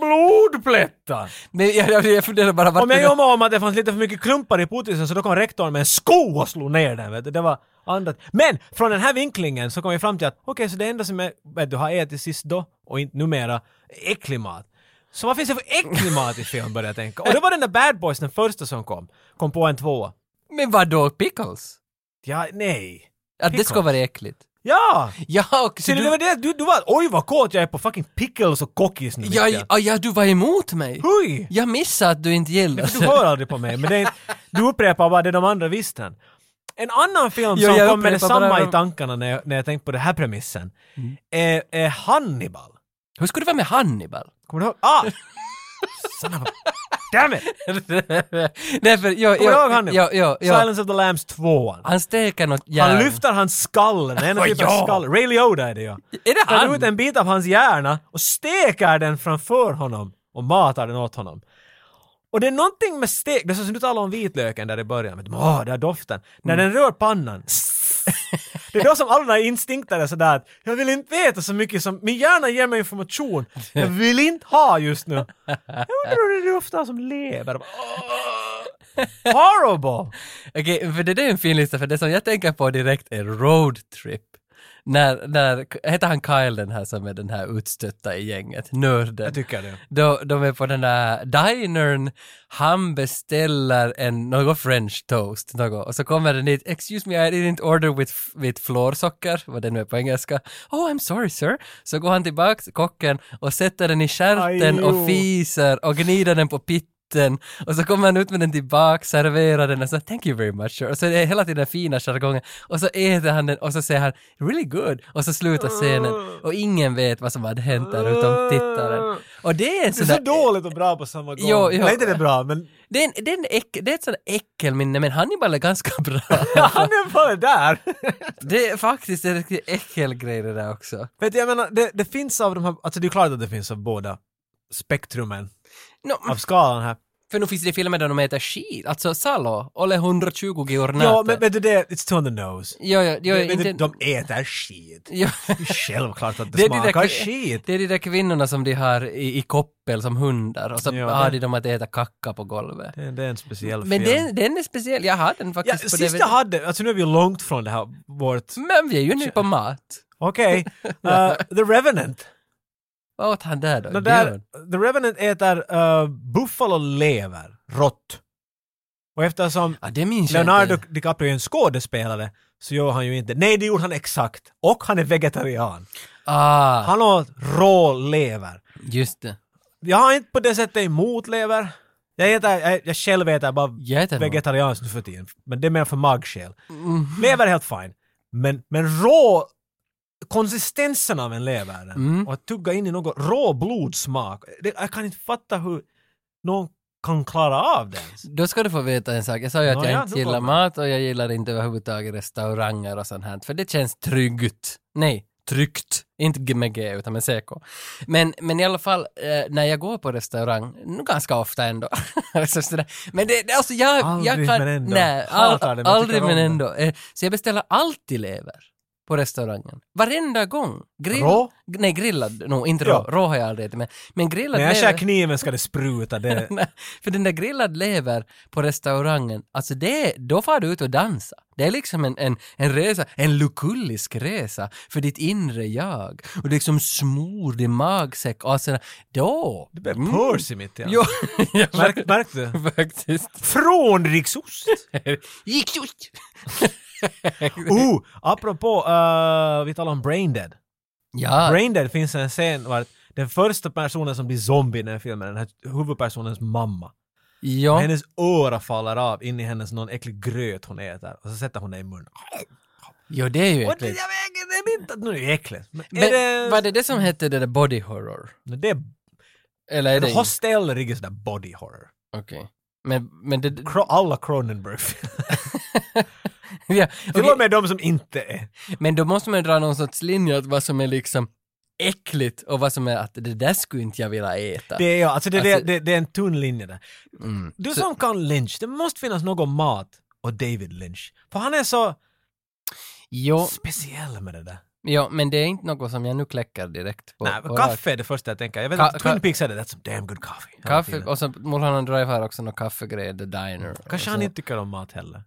Speaker 2: blodplättar?
Speaker 1: Men jag, jag, jag funderar bara vart
Speaker 2: Om jag
Speaker 1: det-
Speaker 2: jobbade om att det fanns lite för mycket klumpar i potisen så då kom rektorn med en sko och slog ner den. Vet du. Det var annat. Men från den här vinklingen så kom vi fram till att okej, så det enda som jag vet du, har ätit sist då och inte numera är äcklig mat. Så vad finns det för äcklig mat i film började jag tänka. Och då var den där Bad Boys den första som kom. Kom på en tvåa.
Speaker 1: Men vadå, pickles?
Speaker 2: Ja, nej.
Speaker 1: Att det
Speaker 2: Pickles.
Speaker 1: ska vara äckligt?
Speaker 2: Ja!
Speaker 1: Ja, och
Speaker 2: Så det var det, du, du var oj vad kåt jag är på fucking pickles och cookies nu.
Speaker 1: ja, ja, ja, du var emot mig!
Speaker 2: Hui!
Speaker 1: Jag missade att du inte gillade
Speaker 2: Du hör aldrig på mig, men det är, du upprepar bara det de andra visste. redan. En annan film
Speaker 1: Jo,
Speaker 2: som
Speaker 1: jag
Speaker 2: kom med
Speaker 1: upprepar bara
Speaker 2: detsamma
Speaker 1: de- Mm.
Speaker 2: i tankarna när jag, när jag tänkte på den här premissen är, är Hannibal.
Speaker 1: Hur skulle det vara med Hannibal?
Speaker 2: Kommer du ihåg? Ah! Son of a... Damn it!
Speaker 1: Nej, för, jo,
Speaker 2: Kommer du ihåg
Speaker 1: jo,
Speaker 2: Hannibal?
Speaker 1: jo, jo, jo.
Speaker 2: Silence of the Lambs 2.
Speaker 1: Han steker något järn.
Speaker 2: Han lyfter hans skall, den ena
Speaker 1: Åh,
Speaker 2: typen
Speaker 1: Ah, ja.
Speaker 2: av skall. Ray Liotta är det ja.
Speaker 1: Är det
Speaker 2: Tar ut
Speaker 1: han?
Speaker 2: en bit av hans hjärna och steker den framför honom och matar den åt honom. Och det är någonting med stek, det är så som du talade om vitlöken där i början, men åh, den där doften. När
Speaker 1: Mm.
Speaker 2: den rör pannan, det är då som alla de här instinkterna är sådär att jag vill inte veta så mycket som, min hjärna ger mig information jag vill inte ha just nu. Jag undrar hur det är ofta som lever. Åh, Horrible!
Speaker 1: Okej, för det där är en fin lista, för det som jag tänker på direkt är road trip. När, när, heter han Kyle den här som är den här utstötta i gänget, nörden?
Speaker 2: Jag tycker det.
Speaker 1: Då, de är på den där dinern, han beställer en, något french toast, något, och så kommer den dit, excuse me I didn't order with, with florsocker, vad det nu är på engelska. Oh I'm sorry sir. Så går han tillbaks, kocken, och sätter den i
Speaker 2: Aj,
Speaker 1: stjärten
Speaker 2: jo.
Speaker 1: och fiser och gnider den på den och så kommer han ut med den tillbaka, serverar den och så “Thank you very much” sir." och så är det hela tiden den fina jargongen och så äter han den och så säger han “Really good” och så slutar scenen och ingen vet vad som hade hänt där utom tittaren. Och det är en
Speaker 2: Det är
Speaker 1: sån
Speaker 2: så
Speaker 1: där,
Speaker 2: dåligt och bra på samma gång.
Speaker 1: Jo, jo.
Speaker 2: Nej, inte det är bra, men
Speaker 1: det är, en, det, är en äck, det är ett sånt äckelminne men Hannibal är ganska bra.
Speaker 2: han är bara där.
Speaker 1: det är faktiskt en riktig äckelgrej det där också.
Speaker 2: Vet du, jag menar, det, det finns av de här, alltså det är klart att det finns av båda spektrumen
Speaker 1: Nå,
Speaker 2: av skalan här.
Speaker 1: För nu finns det filmer där de äter skit, alltså Salo, Olle 120 giornate.
Speaker 2: Ja, men vet du det, it's too on the nose.
Speaker 1: Jo, jo, jo,
Speaker 2: Vet
Speaker 1: inte...
Speaker 2: du, de äter skit.
Speaker 1: jo.
Speaker 2: Självklart att det,
Speaker 1: Det är de där
Speaker 2: smakar
Speaker 1: kvi-
Speaker 2: skit.
Speaker 1: Det är de där kvinnorna som de har i, i koppel som hundar och så
Speaker 2: Ja,
Speaker 1: har
Speaker 2: det-
Speaker 1: de dem att äta kacka på golvet.
Speaker 2: Det, det är en speciell
Speaker 1: Men
Speaker 2: film.
Speaker 1: den, den är speciell, jag har den
Speaker 2: Ja,
Speaker 1: faktiskt på
Speaker 2: sist
Speaker 1: DVD.
Speaker 2: jag hade, alltså nu är vi långt från det här, vårt...
Speaker 1: Men vi är ju nu på mat.
Speaker 2: Okej. Uh, The Revenant.
Speaker 1: Vad åt han där då?
Speaker 2: No, där,
Speaker 1: Björn?
Speaker 2: The Revenant äter uh, buffalolever, rått. Och eftersom
Speaker 1: Ja, det minns
Speaker 2: Leonardo
Speaker 1: jag inte.
Speaker 2: DiCaprio är en skådespelare så gör han ju inte... Nej, det gjorde han exakt. Och han är vegetarian.
Speaker 1: Ah,
Speaker 2: Han åt rå lever.
Speaker 1: just det.
Speaker 2: Jag har inte på det sättet emot lever. Jag, äter, jag, jag själv äter bara
Speaker 1: Jag äter nog.
Speaker 2: vegetarianskt nu för tiden. Men det är mer för magskäl.
Speaker 1: Mm.
Speaker 2: Lever är helt fine. Men, men rå... Konsistensen av en lever.
Speaker 1: Mm.
Speaker 2: Och att tugga in i något rå blodsmak. Det, jag kan inte fatta hur någon kan klara av det ens.
Speaker 1: Då ska du få veta en sak. Jag sa ju att
Speaker 2: Nå,
Speaker 1: jag
Speaker 2: ja,
Speaker 1: inte
Speaker 2: nu
Speaker 1: gillar
Speaker 2: kommer.
Speaker 1: mat och jag gillar inte överhuvudtaget restauranger och sånt här. För det känns tryggt. Nej, tryggt. Inte g- med G utan med CK. Men, men i alla fall, eh, när jag går på restaurang, nu ganska ofta ändå. så sådär. men det, det- alltså jag, jag
Speaker 2: Aldrig
Speaker 1: kan...
Speaker 2: men ändå.
Speaker 1: Nej,
Speaker 2: Hatar det, men
Speaker 1: aldrig
Speaker 2: tycker om
Speaker 1: men
Speaker 2: det.
Speaker 1: ändå. Eh, så jag beställer alltid lever på restaurangen. Varenda gång. Grill,
Speaker 2: Rå?
Speaker 1: Nej, grillad. No, inte rå.
Speaker 2: Ja.
Speaker 1: Rå har jag aldrig ätit. Men, men grillad
Speaker 2: När jag
Speaker 1: lever-
Speaker 2: skär kniven ska det spruta. Det,
Speaker 1: Nej, För den där grillad lever på restaurangen, alltså det, är- då får du ut och dansa. Det är liksom en, en, en resa, en lukullisk resa för ditt inre jag. Och du liksom smor din magsäck och sådär. Då!
Speaker 2: det blev Percy mitt i allt.
Speaker 1: Mm. Jo, jag
Speaker 2: Märk, märkte du?
Speaker 1: faktiskt.
Speaker 2: Från riksost!
Speaker 1: Gick just!
Speaker 2: Oh, apropå, eh, vi talar om Braindead.
Speaker 1: Ja,
Speaker 2: Braindead finns en scen var den första personen som blir zombie i den här filmen, den här huvudpersonens mamma.
Speaker 1: ja.
Speaker 2: Hennes öra faller av in i hennes någon äcklig gröt hon äter och så sätter hon det i munnen.
Speaker 1: Jo, det är ju
Speaker 2: Och det, jag
Speaker 1: äckligt.
Speaker 2: vet, det är inte att nu är det äckligt. Men är
Speaker 1: Men
Speaker 2: det,
Speaker 1: var det det som hette det där body horror?
Speaker 2: det är,
Speaker 1: Eller är det...
Speaker 2: det hostel är riktigt sådär body horror.
Speaker 1: Okej. Men, men det...
Speaker 2: Cro- alla Cronenberg
Speaker 1: ja,
Speaker 2: Till
Speaker 1: okej.
Speaker 2: och med de som inte är.
Speaker 1: Men då måste man dra någon sorts linje att vad som är liksom äckligt och vad som är att det där skulle inte jag vilja äta.
Speaker 2: Det är, alltså det, det-
Speaker 1: Alltså-
Speaker 2: det, det är en tunn linje där.
Speaker 1: Mm.
Speaker 2: Du
Speaker 1: Så-
Speaker 2: som kan Lynch, det måste finnas någon mat och David Lynch. För han är så
Speaker 1: Jo,
Speaker 2: speciell med det där.
Speaker 1: jo, men det är inte något som jag nu kläcker direkt på.
Speaker 2: Nej,
Speaker 1: på
Speaker 2: kaffe är det första jag tänker. Jag vet
Speaker 1: Ka-
Speaker 2: att
Speaker 1: ka-
Speaker 2: Twin Peaks hade that's some damn good coffee.
Speaker 1: rak- Kaffe, och så Mulholland Drive har också någon kaffegrej, The Diner.
Speaker 2: Kanske
Speaker 1: Och
Speaker 2: han
Speaker 1: så-
Speaker 2: inte tycker om mat heller.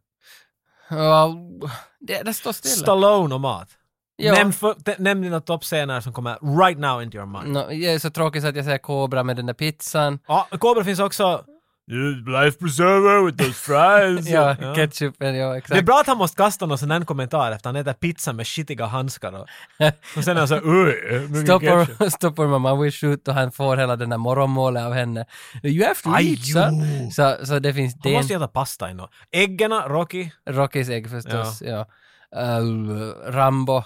Speaker 1: Ja, det, det står stilla.
Speaker 2: Stallone och mat.
Speaker 1: Ja.
Speaker 2: Nämn, för, t- nämn dina toppscener som kommer right now into your mind.
Speaker 1: Nå, jag är så tråkig så att jag säger Cobra med den där pizzan.
Speaker 2: Ja, Kobra finns också... Life preserver with those fries.
Speaker 1: Ja, ketchupen, ja
Speaker 2: Det är
Speaker 1: exakt.
Speaker 2: bra att han måste kasta någon sån här kommentar efter han äter pizza med skitiga handskar och, och sen är han så "Oj, mycket
Speaker 1: Stop
Speaker 2: ketchup."
Speaker 1: her, stop her mama, we shoot och han får hela den där morgonmålet av henne. You have to
Speaker 2: Aj,
Speaker 1: eat son.
Speaker 2: jo.
Speaker 1: Så, så det finns
Speaker 2: Han
Speaker 1: den-
Speaker 2: måste ju äta pasta i något. Äggen, Rocky.
Speaker 1: Rockies ägg förstås, ja. Uh, Rambo.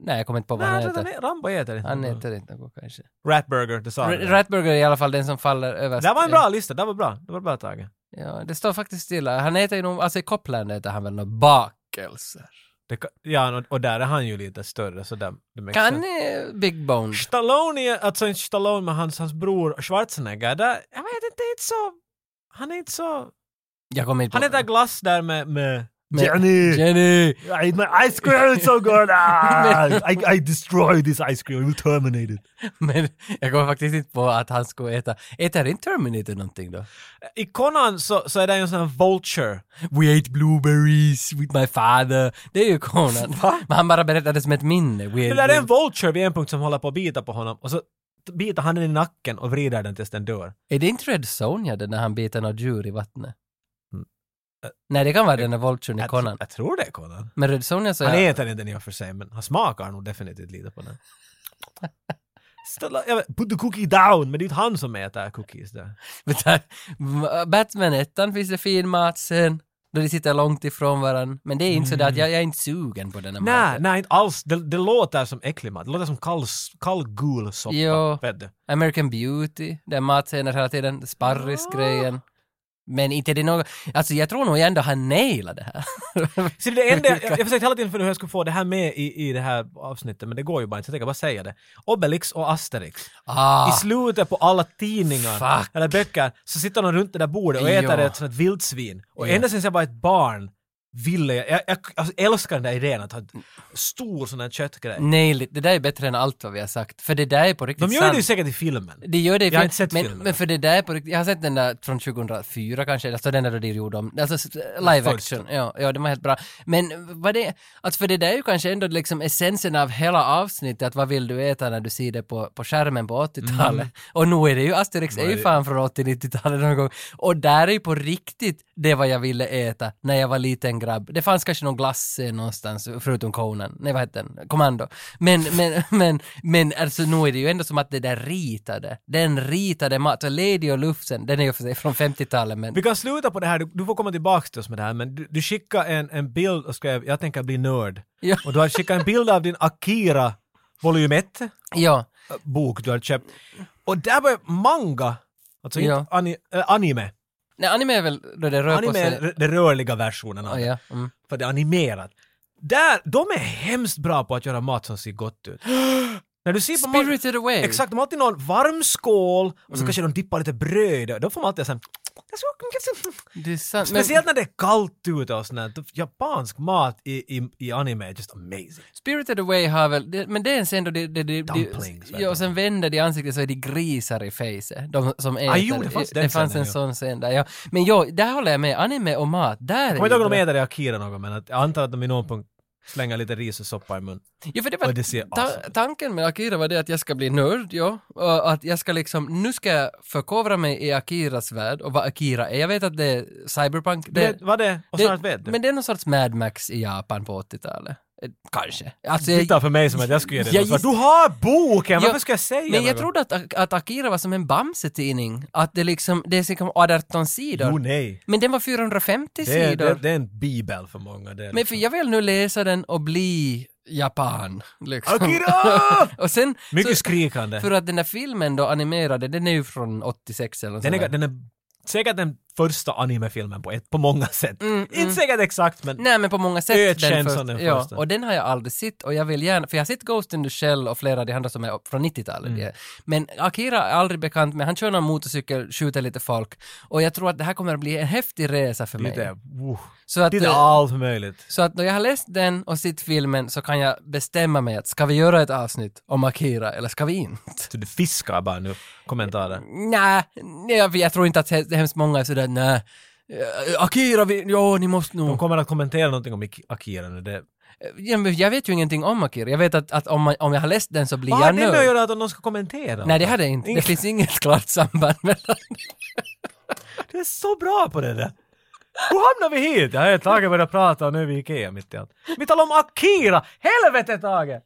Speaker 1: Nej, jag kommer inte på vad
Speaker 2: Nej,
Speaker 1: han
Speaker 2: han
Speaker 1: äter.
Speaker 2: äter. Rambo äter inte.
Speaker 1: Han äter inte något kanske.
Speaker 2: Ratburger, det sa
Speaker 1: R-
Speaker 2: du.
Speaker 1: Ratburger är i alla fall den som faller överst.
Speaker 2: Det var en bra lista, det var bra. Det var bra taget.
Speaker 1: Ja, det står faktiskt stilla. Han äter ju nog, alltså i Copland äter han väl några bakelser.
Speaker 2: Det, ka- ja, och- och där är han ju lite större så där, det makes
Speaker 1: Kan
Speaker 2: sense.
Speaker 1: eh, Big Bone.
Speaker 2: Stallone, är- alltså inte Stallone men hans, hans bror Schwarzenegger, där, jag vet inte, det är inte så... Han är inte så...
Speaker 1: Jag kommer inte
Speaker 2: Han
Speaker 1: på.
Speaker 2: äter glass där med... med
Speaker 1: Men-
Speaker 2: Jenny!
Speaker 1: Jenny!
Speaker 2: I, my ice cream is so good! Ah, I, I destroy this ice cream, I will terminate it.
Speaker 1: Men jag kommer faktiskt inte på att han skulle äta. Äter inte Terminator någonting då?
Speaker 2: I Conan så, så är det ju en sån här vulture.
Speaker 1: We ate blueberries with my father. Det är ju Conan. Men han bara berättade det som ett minne. We
Speaker 2: Det
Speaker 1: ate
Speaker 2: där är en
Speaker 1: blueberries.
Speaker 2: vulture vid en punkt som håller på att bita på honom och så t- biter han den i nacken och vrider den tills den dör.
Speaker 1: Är det inte Red Sonja den när han biter något djur i vattnet? Nej, det kan vara den där vulturen i
Speaker 2: Mm. Jag, tr-
Speaker 1: Conan.
Speaker 2: jag tror det är Conan.
Speaker 1: Men Red Sonja så
Speaker 2: Han
Speaker 1: jag...
Speaker 2: äter inte den i och för sig, men han smakar nog definitivt lite på den. Ställa, jag vet, put the cookie down! Men det är ju inte han som äter cookies där.
Speaker 1: Men där- M- Batman 1 finns det fin mat sen, då de sitter långt ifrån varandra. Men det är inte så där att jag, jag är inte sugen på den här
Speaker 2: Mm. Nej,
Speaker 1: maten.
Speaker 2: nej inte alls. Det, det låter som äcklig mat. Det låter som kall, kall gul soppa.
Speaker 1: Jo.
Speaker 2: Vet du?
Speaker 1: American Beauty, den matscener hela tiden, sparrisgrejen. Men inte är det något, alltså jag tror nog jag ändå har nailat det här.
Speaker 2: Så det enda, jag, jag försökte hela tiden fundera hur jag skulle få det här med i, i det här avsnittet, men det går ju bara inte. Så jag tänker bara säga det. Obelix och Asterix.
Speaker 1: ah,
Speaker 2: I slutet på alla tidningar
Speaker 1: Fuck.
Speaker 2: eller böcker så sitter de runt det där bordet och äter
Speaker 1: Ja.
Speaker 2: ett sånt vildsvin. Och
Speaker 1: Ja.
Speaker 2: ända sedan jag var ett barn ville jag, jag, jag, alltså, älskar den där idén att ha en stor sån här köttgrej.
Speaker 1: nailed it. Det där är bättre än allt vad vi har sagt, för det där är på riktigt
Speaker 2: De gör det ju
Speaker 1: sant.
Speaker 2: säkert i filmen.
Speaker 1: Det gör det i
Speaker 2: Jag har
Speaker 1: film-
Speaker 2: inte sett
Speaker 1: men,
Speaker 2: filmen.
Speaker 1: Men för det där är på riktigt, jag har sett den där från 2004 kanske, alltså den där då de gjorde om, alltså s- live
Speaker 2: Första.
Speaker 1: action, ja, ja den var helt bra. Men vad det, alltså för det där är ju kanske ändå liksom essensen av hela avsnittet, att vad vill du äta när du ser det på, på skärmen på 80-talet?
Speaker 2: Mm.
Speaker 1: Och nu är det ju, Asterix är ju fan från 80-90-talet någon gång, och där är ju på riktigt det vad jag ville äta när jag var liten grabb. Det fanns kanske någon glass eh, någonstans, förutom Conan, nej vad hette den, Commando. Men, men, men, men alltså nu är det ju ändå som att det där ritade, den ritade maten, Lady och Lufsen, den är ju för sig från 50-talet men
Speaker 2: Vi kan sluta på det här, du, du får komma tillbaka till oss med det här, men du, du skickade en, en bild och skrev “Jag tänker bli nörd”.
Speaker 1: Ja.
Speaker 2: Och du har skickat en bild av din Akira volym 1-bok
Speaker 1: ja,
Speaker 2: du har köpt. Och där var manga, alltså
Speaker 1: Ja.
Speaker 2: inte ani, äh, anime.
Speaker 1: nej, anime är väl då det rör på
Speaker 2: Anime är
Speaker 1: sig.
Speaker 2: r- den rörliga versionen av
Speaker 1: Ja,
Speaker 2: det,
Speaker 1: ja, mm.
Speaker 2: för det är animerat. Där, de är hemskt bra på att göra mat som ser gott ut. När du ser på mat-
Speaker 1: Spirited Away.
Speaker 2: Exakt, de har alltid någon varm skål och
Speaker 1: Mm.
Speaker 2: så kanske de dippar lite bröd i. då får man alltid såhär
Speaker 1: Det är sant. Men
Speaker 2: Speciellt när det är kallt ute och sånt där. Japansk mat i, i, i anime är just amazing.
Speaker 1: Spirited Away har väl, det, men det är sen då det, det, det,
Speaker 2: Dumplings,
Speaker 1: det, ja, och sen vänder de ansiktet så är de grisar i facet. De som äter.
Speaker 2: Ah, jo, det fanns den
Speaker 1: fanns
Speaker 2: scenen,
Speaker 1: en
Speaker 2: ja.
Speaker 1: sån scen där. Ja. Men ja, där håller jag med, anime och mat, där
Speaker 2: Jag kommer inte ihåg om
Speaker 1: det-
Speaker 2: de äter det i Akira någon men att, jag antar att de i någon punkt slänger lite ris och soppa i mun.
Speaker 1: Ja, för det
Speaker 2: Och
Speaker 1: var,
Speaker 2: det ser
Speaker 1: ta,
Speaker 2: awesome ut.
Speaker 1: tanken med Akira var det att jag ska bli nörd, ja. Och att jag ska liksom, nu ska jag förkovra mig i Akiras värld och vad Akira är. Jag vet att det är cyberpunk.
Speaker 2: Det, vad det? Och snart vet du.
Speaker 1: Men det är någon sorts Mad Max i Japan på 80-talet. Eh, Kanske. Alltså, jag-
Speaker 2: Titta för mig som att jag skulle ge
Speaker 1: Jag
Speaker 2: dig något.
Speaker 1: giss-
Speaker 2: Du har boken! Varför
Speaker 1: Ja,
Speaker 2: ska jag säga
Speaker 1: Men jag
Speaker 2: något?
Speaker 1: trodde att, att Akira var som en Bamse-tidning. Att det liksom, det är liksom 18 sidor.
Speaker 2: Jo, nej.
Speaker 1: men den var 450
Speaker 2: Det är,
Speaker 1: sidor.
Speaker 2: det, det är en bibel för många. Det är liksom
Speaker 1: Men för jag vill nu läsa den och bli japan. Liksom.
Speaker 2: Akira!
Speaker 1: och sen,
Speaker 2: Mycket
Speaker 1: så,
Speaker 2: skrikande.
Speaker 1: för att den där filmen då animerade, den är ju från 86 eller nåt
Speaker 2: Den
Speaker 1: sånt
Speaker 2: är,
Speaker 1: där.
Speaker 2: den är säkert den första animefilmen på, ett, på många sätt.
Speaker 1: Mm, mm.
Speaker 2: Inte säkert exakt men
Speaker 1: Nej men på många sätt
Speaker 2: Ökänd
Speaker 1: den,
Speaker 2: som den
Speaker 1: ja,
Speaker 2: första.
Speaker 1: och den har jag aldrig sett och jag vill gärna, för jag har sett Ghost in the Shell och flera av de andra som är från 90-talet.
Speaker 2: Mm.
Speaker 1: det är. Men Akira är aldrig bekant med, han kör någon motorcykel, skjuter lite folk och jag tror att det här kommer att bli en häftig resa för mig.
Speaker 2: det är, uh,
Speaker 1: Så att,
Speaker 2: det är
Speaker 1: eh,
Speaker 2: allt möjligt.
Speaker 1: så att när jag har läst den och sett filmen så kan jag bestämma mig att ska vi göra ett avsnitt om Akira eller ska vi inte?
Speaker 2: Så du fiskar bara nu kommentarer.
Speaker 1: Nej, nej, jag, jag tror inte att he- hemskt många är sådär nej. eh, Akira, vi, ja ni måste nog...
Speaker 2: De kommer att kommentera någonting om Ak- Akira nu. Det...
Speaker 1: Ja, men jag vet ju ingenting om Akira. Jag vet att, att om, man, om jag har läst den så blir
Speaker 2: Vad har
Speaker 1: jag
Speaker 2: det med att
Speaker 1: nörd.
Speaker 2: göra att någon ska kommentera?
Speaker 1: Nej, det hade jag inte. Det
Speaker 2: Inget-
Speaker 1: finns inget klart samband mellan...
Speaker 2: Du är så bra på det där! Hur hamnar vi hit? Jag har Tage börjat prata och nu är vi i Ikea mitt i allt. Vi talar om Akira! Helvete Tage!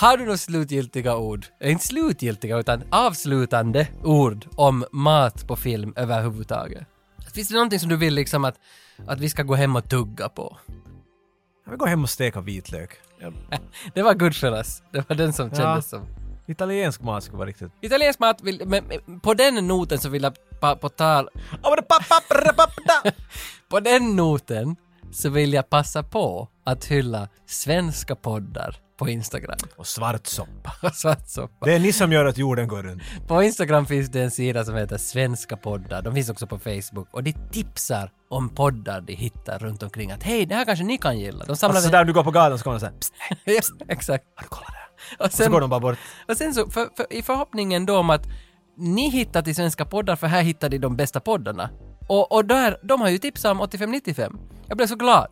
Speaker 1: Har du några slutgiltiga ord? Eh, Inte slutgiltiga, utan avslutande ord om mat på film överhuvudtaget. Finns det någonting som du vill liksom att, att vi ska gå hem och tugga på?
Speaker 2: Jag vill gå hem och steka vitlök.
Speaker 1: Det var good för oss. Det var den som kändes som...
Speaker 2: Italiensk mat skulle vara riktigt...
Speaker 1: Italiensk mat, vill, men men på den noten så vill jag pa, på tal...
Speaker 2: Ah, vad det papp, papp, rra, papp, da.
Speaker 1: På den noten så vill jag passa på att hylla svenska poddar på Instagram. Alltså,
Speaker 2: Och svartsoppa.
Speaker 1: Svartsoppa.
Speaker 2: Det är ni som gör att jorden går runt.
Speaker 1: På Instagram finns det en sida som heter Svenska poddar. De finns också på Facebook och de tipsar om poddar de hittar runt omkring. Att hej, det här kanske ni kan gilla. De samlar...
Speaker 2: Alltså där du går på gatan så kommer de såhär psst,
Speaker 1: Yes, exakt. Har du kollat där? Och sen,
Speaker 2: så går de bara bort.
Speaker 1: och sen så, för, för, i förhoppningen då om att ni hittar till Svenska poddar för här hittar de de bästa poddarna. Och, och där, de har ju tipsat om 8595. Jag blev så glad.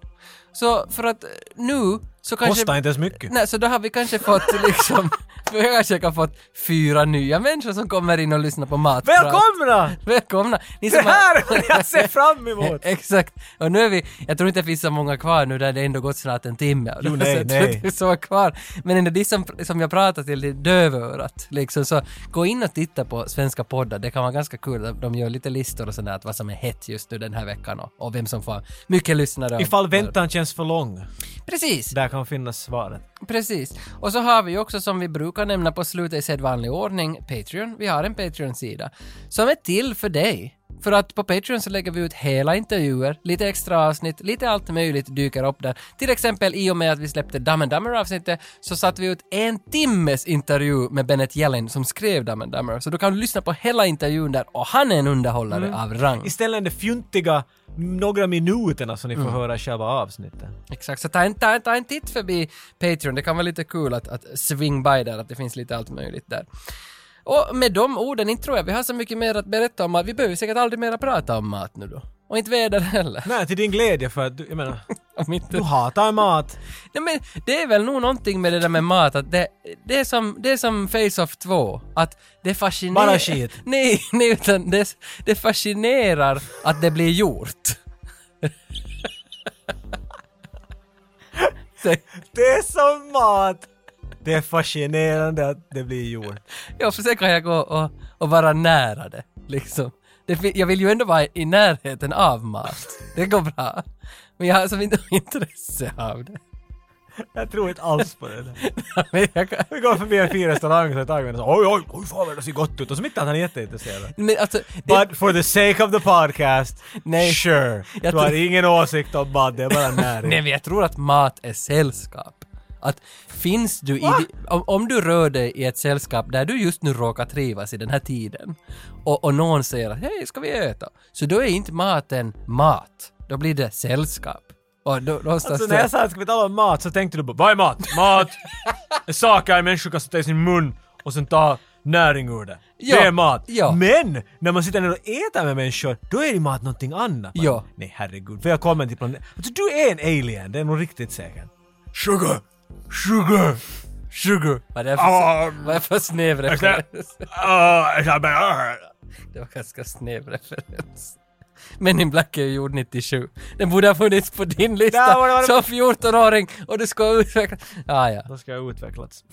Speaker 1: Så för att eh, nu Så
Speaker 2: Kostar inte ens mycket.
Speaker 1: Nej, så då har vi kanske fått liksom... vi har kanske har fått fyra nya människor som kommer in och lyssnar på mat.
Speaker 2: Välkomna!
Speaker 1: Välkomna! Ni
Speaker 2: Det
Speaker 1: som har-
Speaker 2: här är vad jag ser fram emot!
Speaker 1: Eh, Exakt. Och nu är vi, jag tror inte det finns så många kvar nu där det ändå gått snart en timme.
Speaker 2: Jo, nej,
Speaker 1: så jag tror
Speaker 2: nej.
Speaker 1: inte det är så kvar. Men ändå de som, som jag pratar till, det är dövörat. Liksom. Så gå in och titta på svenska poddar, det kan vara ganska kul. De gör lite listor och sådär, att vad som är hett just nu den här veckan och, och vem som får mycket lyssnare. och-
Speaker 2: Ifall väntan känns för lång,
Speaker 1: Precis.
Speaker 2: där kan finnas svaret.
Speaker 1: Precis. Och så har vi ju också som vi brukar nämna på slutet i sedvanlig ordning, Patreon. Vi har en Patreon-sida som är till för dig. För att på Patreon så lägger vi ut hela intervjuer, lite extra avsnitt, lite allt möjligt dyker upp där. Till exempel i och med att vi släppte Dumb and Dumber avsnittet så satte vi ut en timmes intervju med Bennett Yellen som skrev Dumb and Dumber. Så du kan lyssna på hela intervjun där och han är en underhållare av rang.
Speaker 2: Istället det fjuntiga några minuterna som ni får höra själva avsnittet.
Speaker 1: Exakt, så ta en, ta, en- ta en titt förbi Patreon. Det kan vara lite kul att, att swing by där, att det finns lite allt möjligt där. Och med de orden, inte tror jag vi har så mycket mer att berätta om mat. Vi behöver säkert aldrig mera prata om mat nu då. Och inte väder heller.
Speaker 2: Nej, till din glädje för att du, jag menar,
Speaker 1: Om inte...
Speaker 2: du hatar mat.
Speaker 1: Nej, men det är väl nog någonting med det där med mat, att det, det, är, som, det är som Face-Off 2, att det fascinerar...
Speaker 2: Bara skit.
Speaker 1: Nej, nej, utan det, det fascinerar att det blir gjort.
Speaker 2: Det är som mat! Det är fascinerande att det blir gjort.
Speaker 1: Ja, för sen kan jag gå och, och vara nära det, liksom. Det, fi- jag vill ju ändå vara i närheten av mat. Det går bra. Men jag har som inte intresse av det.
Speaker 2: Jag tror inte alls på det där.
Speaker 1: Men, jag, kan-
Speaker 2: Vi går förbi en fin restaurang så tar vi den och så oj oj, oj fan vad det ser gott ut och så mitt att han är jätteintresserad.
Speaker 1: men alltså, det,
Speaker 2: But for the sake of the podcast,
Speaker 1: Nej.
Speaker 2: sure.
Speaker 1: Jag
Speaker 2: Du har
Speaker 1: tror-
Speaker 2: ingen åsikt om mat, det är bara
Speaker 1: nej,
Speaker 2: näring.
Speaker 1: men jag tror att mat är sällskap. Att finns du i, di- om, om du rör dig i ett sällskap där du just nu råkar trivas i den här tiden och, och någon säger att hej, ska vi äta? Så då är inte maten mat. Då blir det sällskap. Och då, någonstans
Speaker 2: Så
Speaker 1: där-
Speaker 2: Alltså, när jag sa att ska vi tala om mat så tänkte du bara vad är mat? Mat! En sak är en människa kan sätta i sin mun och sen ta näring ur det.
Speaker 1: Ja,
Speaker 2: det är mat.
Speaker 1: ja.
Speaker 2: Men när man sitter ner och äter med människor, då är det mat någonting annat.
Speaker 1: Ja.
Speaker 2: Nej herregud, för jag kommer till planeten. Alltså, du är en alien, det är nog riktigt säkert. Sugar! Sugar! Sugar!
Speaker 1: Vad är det
Speaker 2: Ah.
Speaker 1: för, vad är det för snäv referens? Det var ganska snäv referens. Men in Black är ju gjord 97. Den borde ha funnits på din lista
Speaker 2: Där var det- var det-
Speaker 1: som 14-åring och du ska utveckla... Ah, ja.
Speaker 2: Då ska jag utvecklas.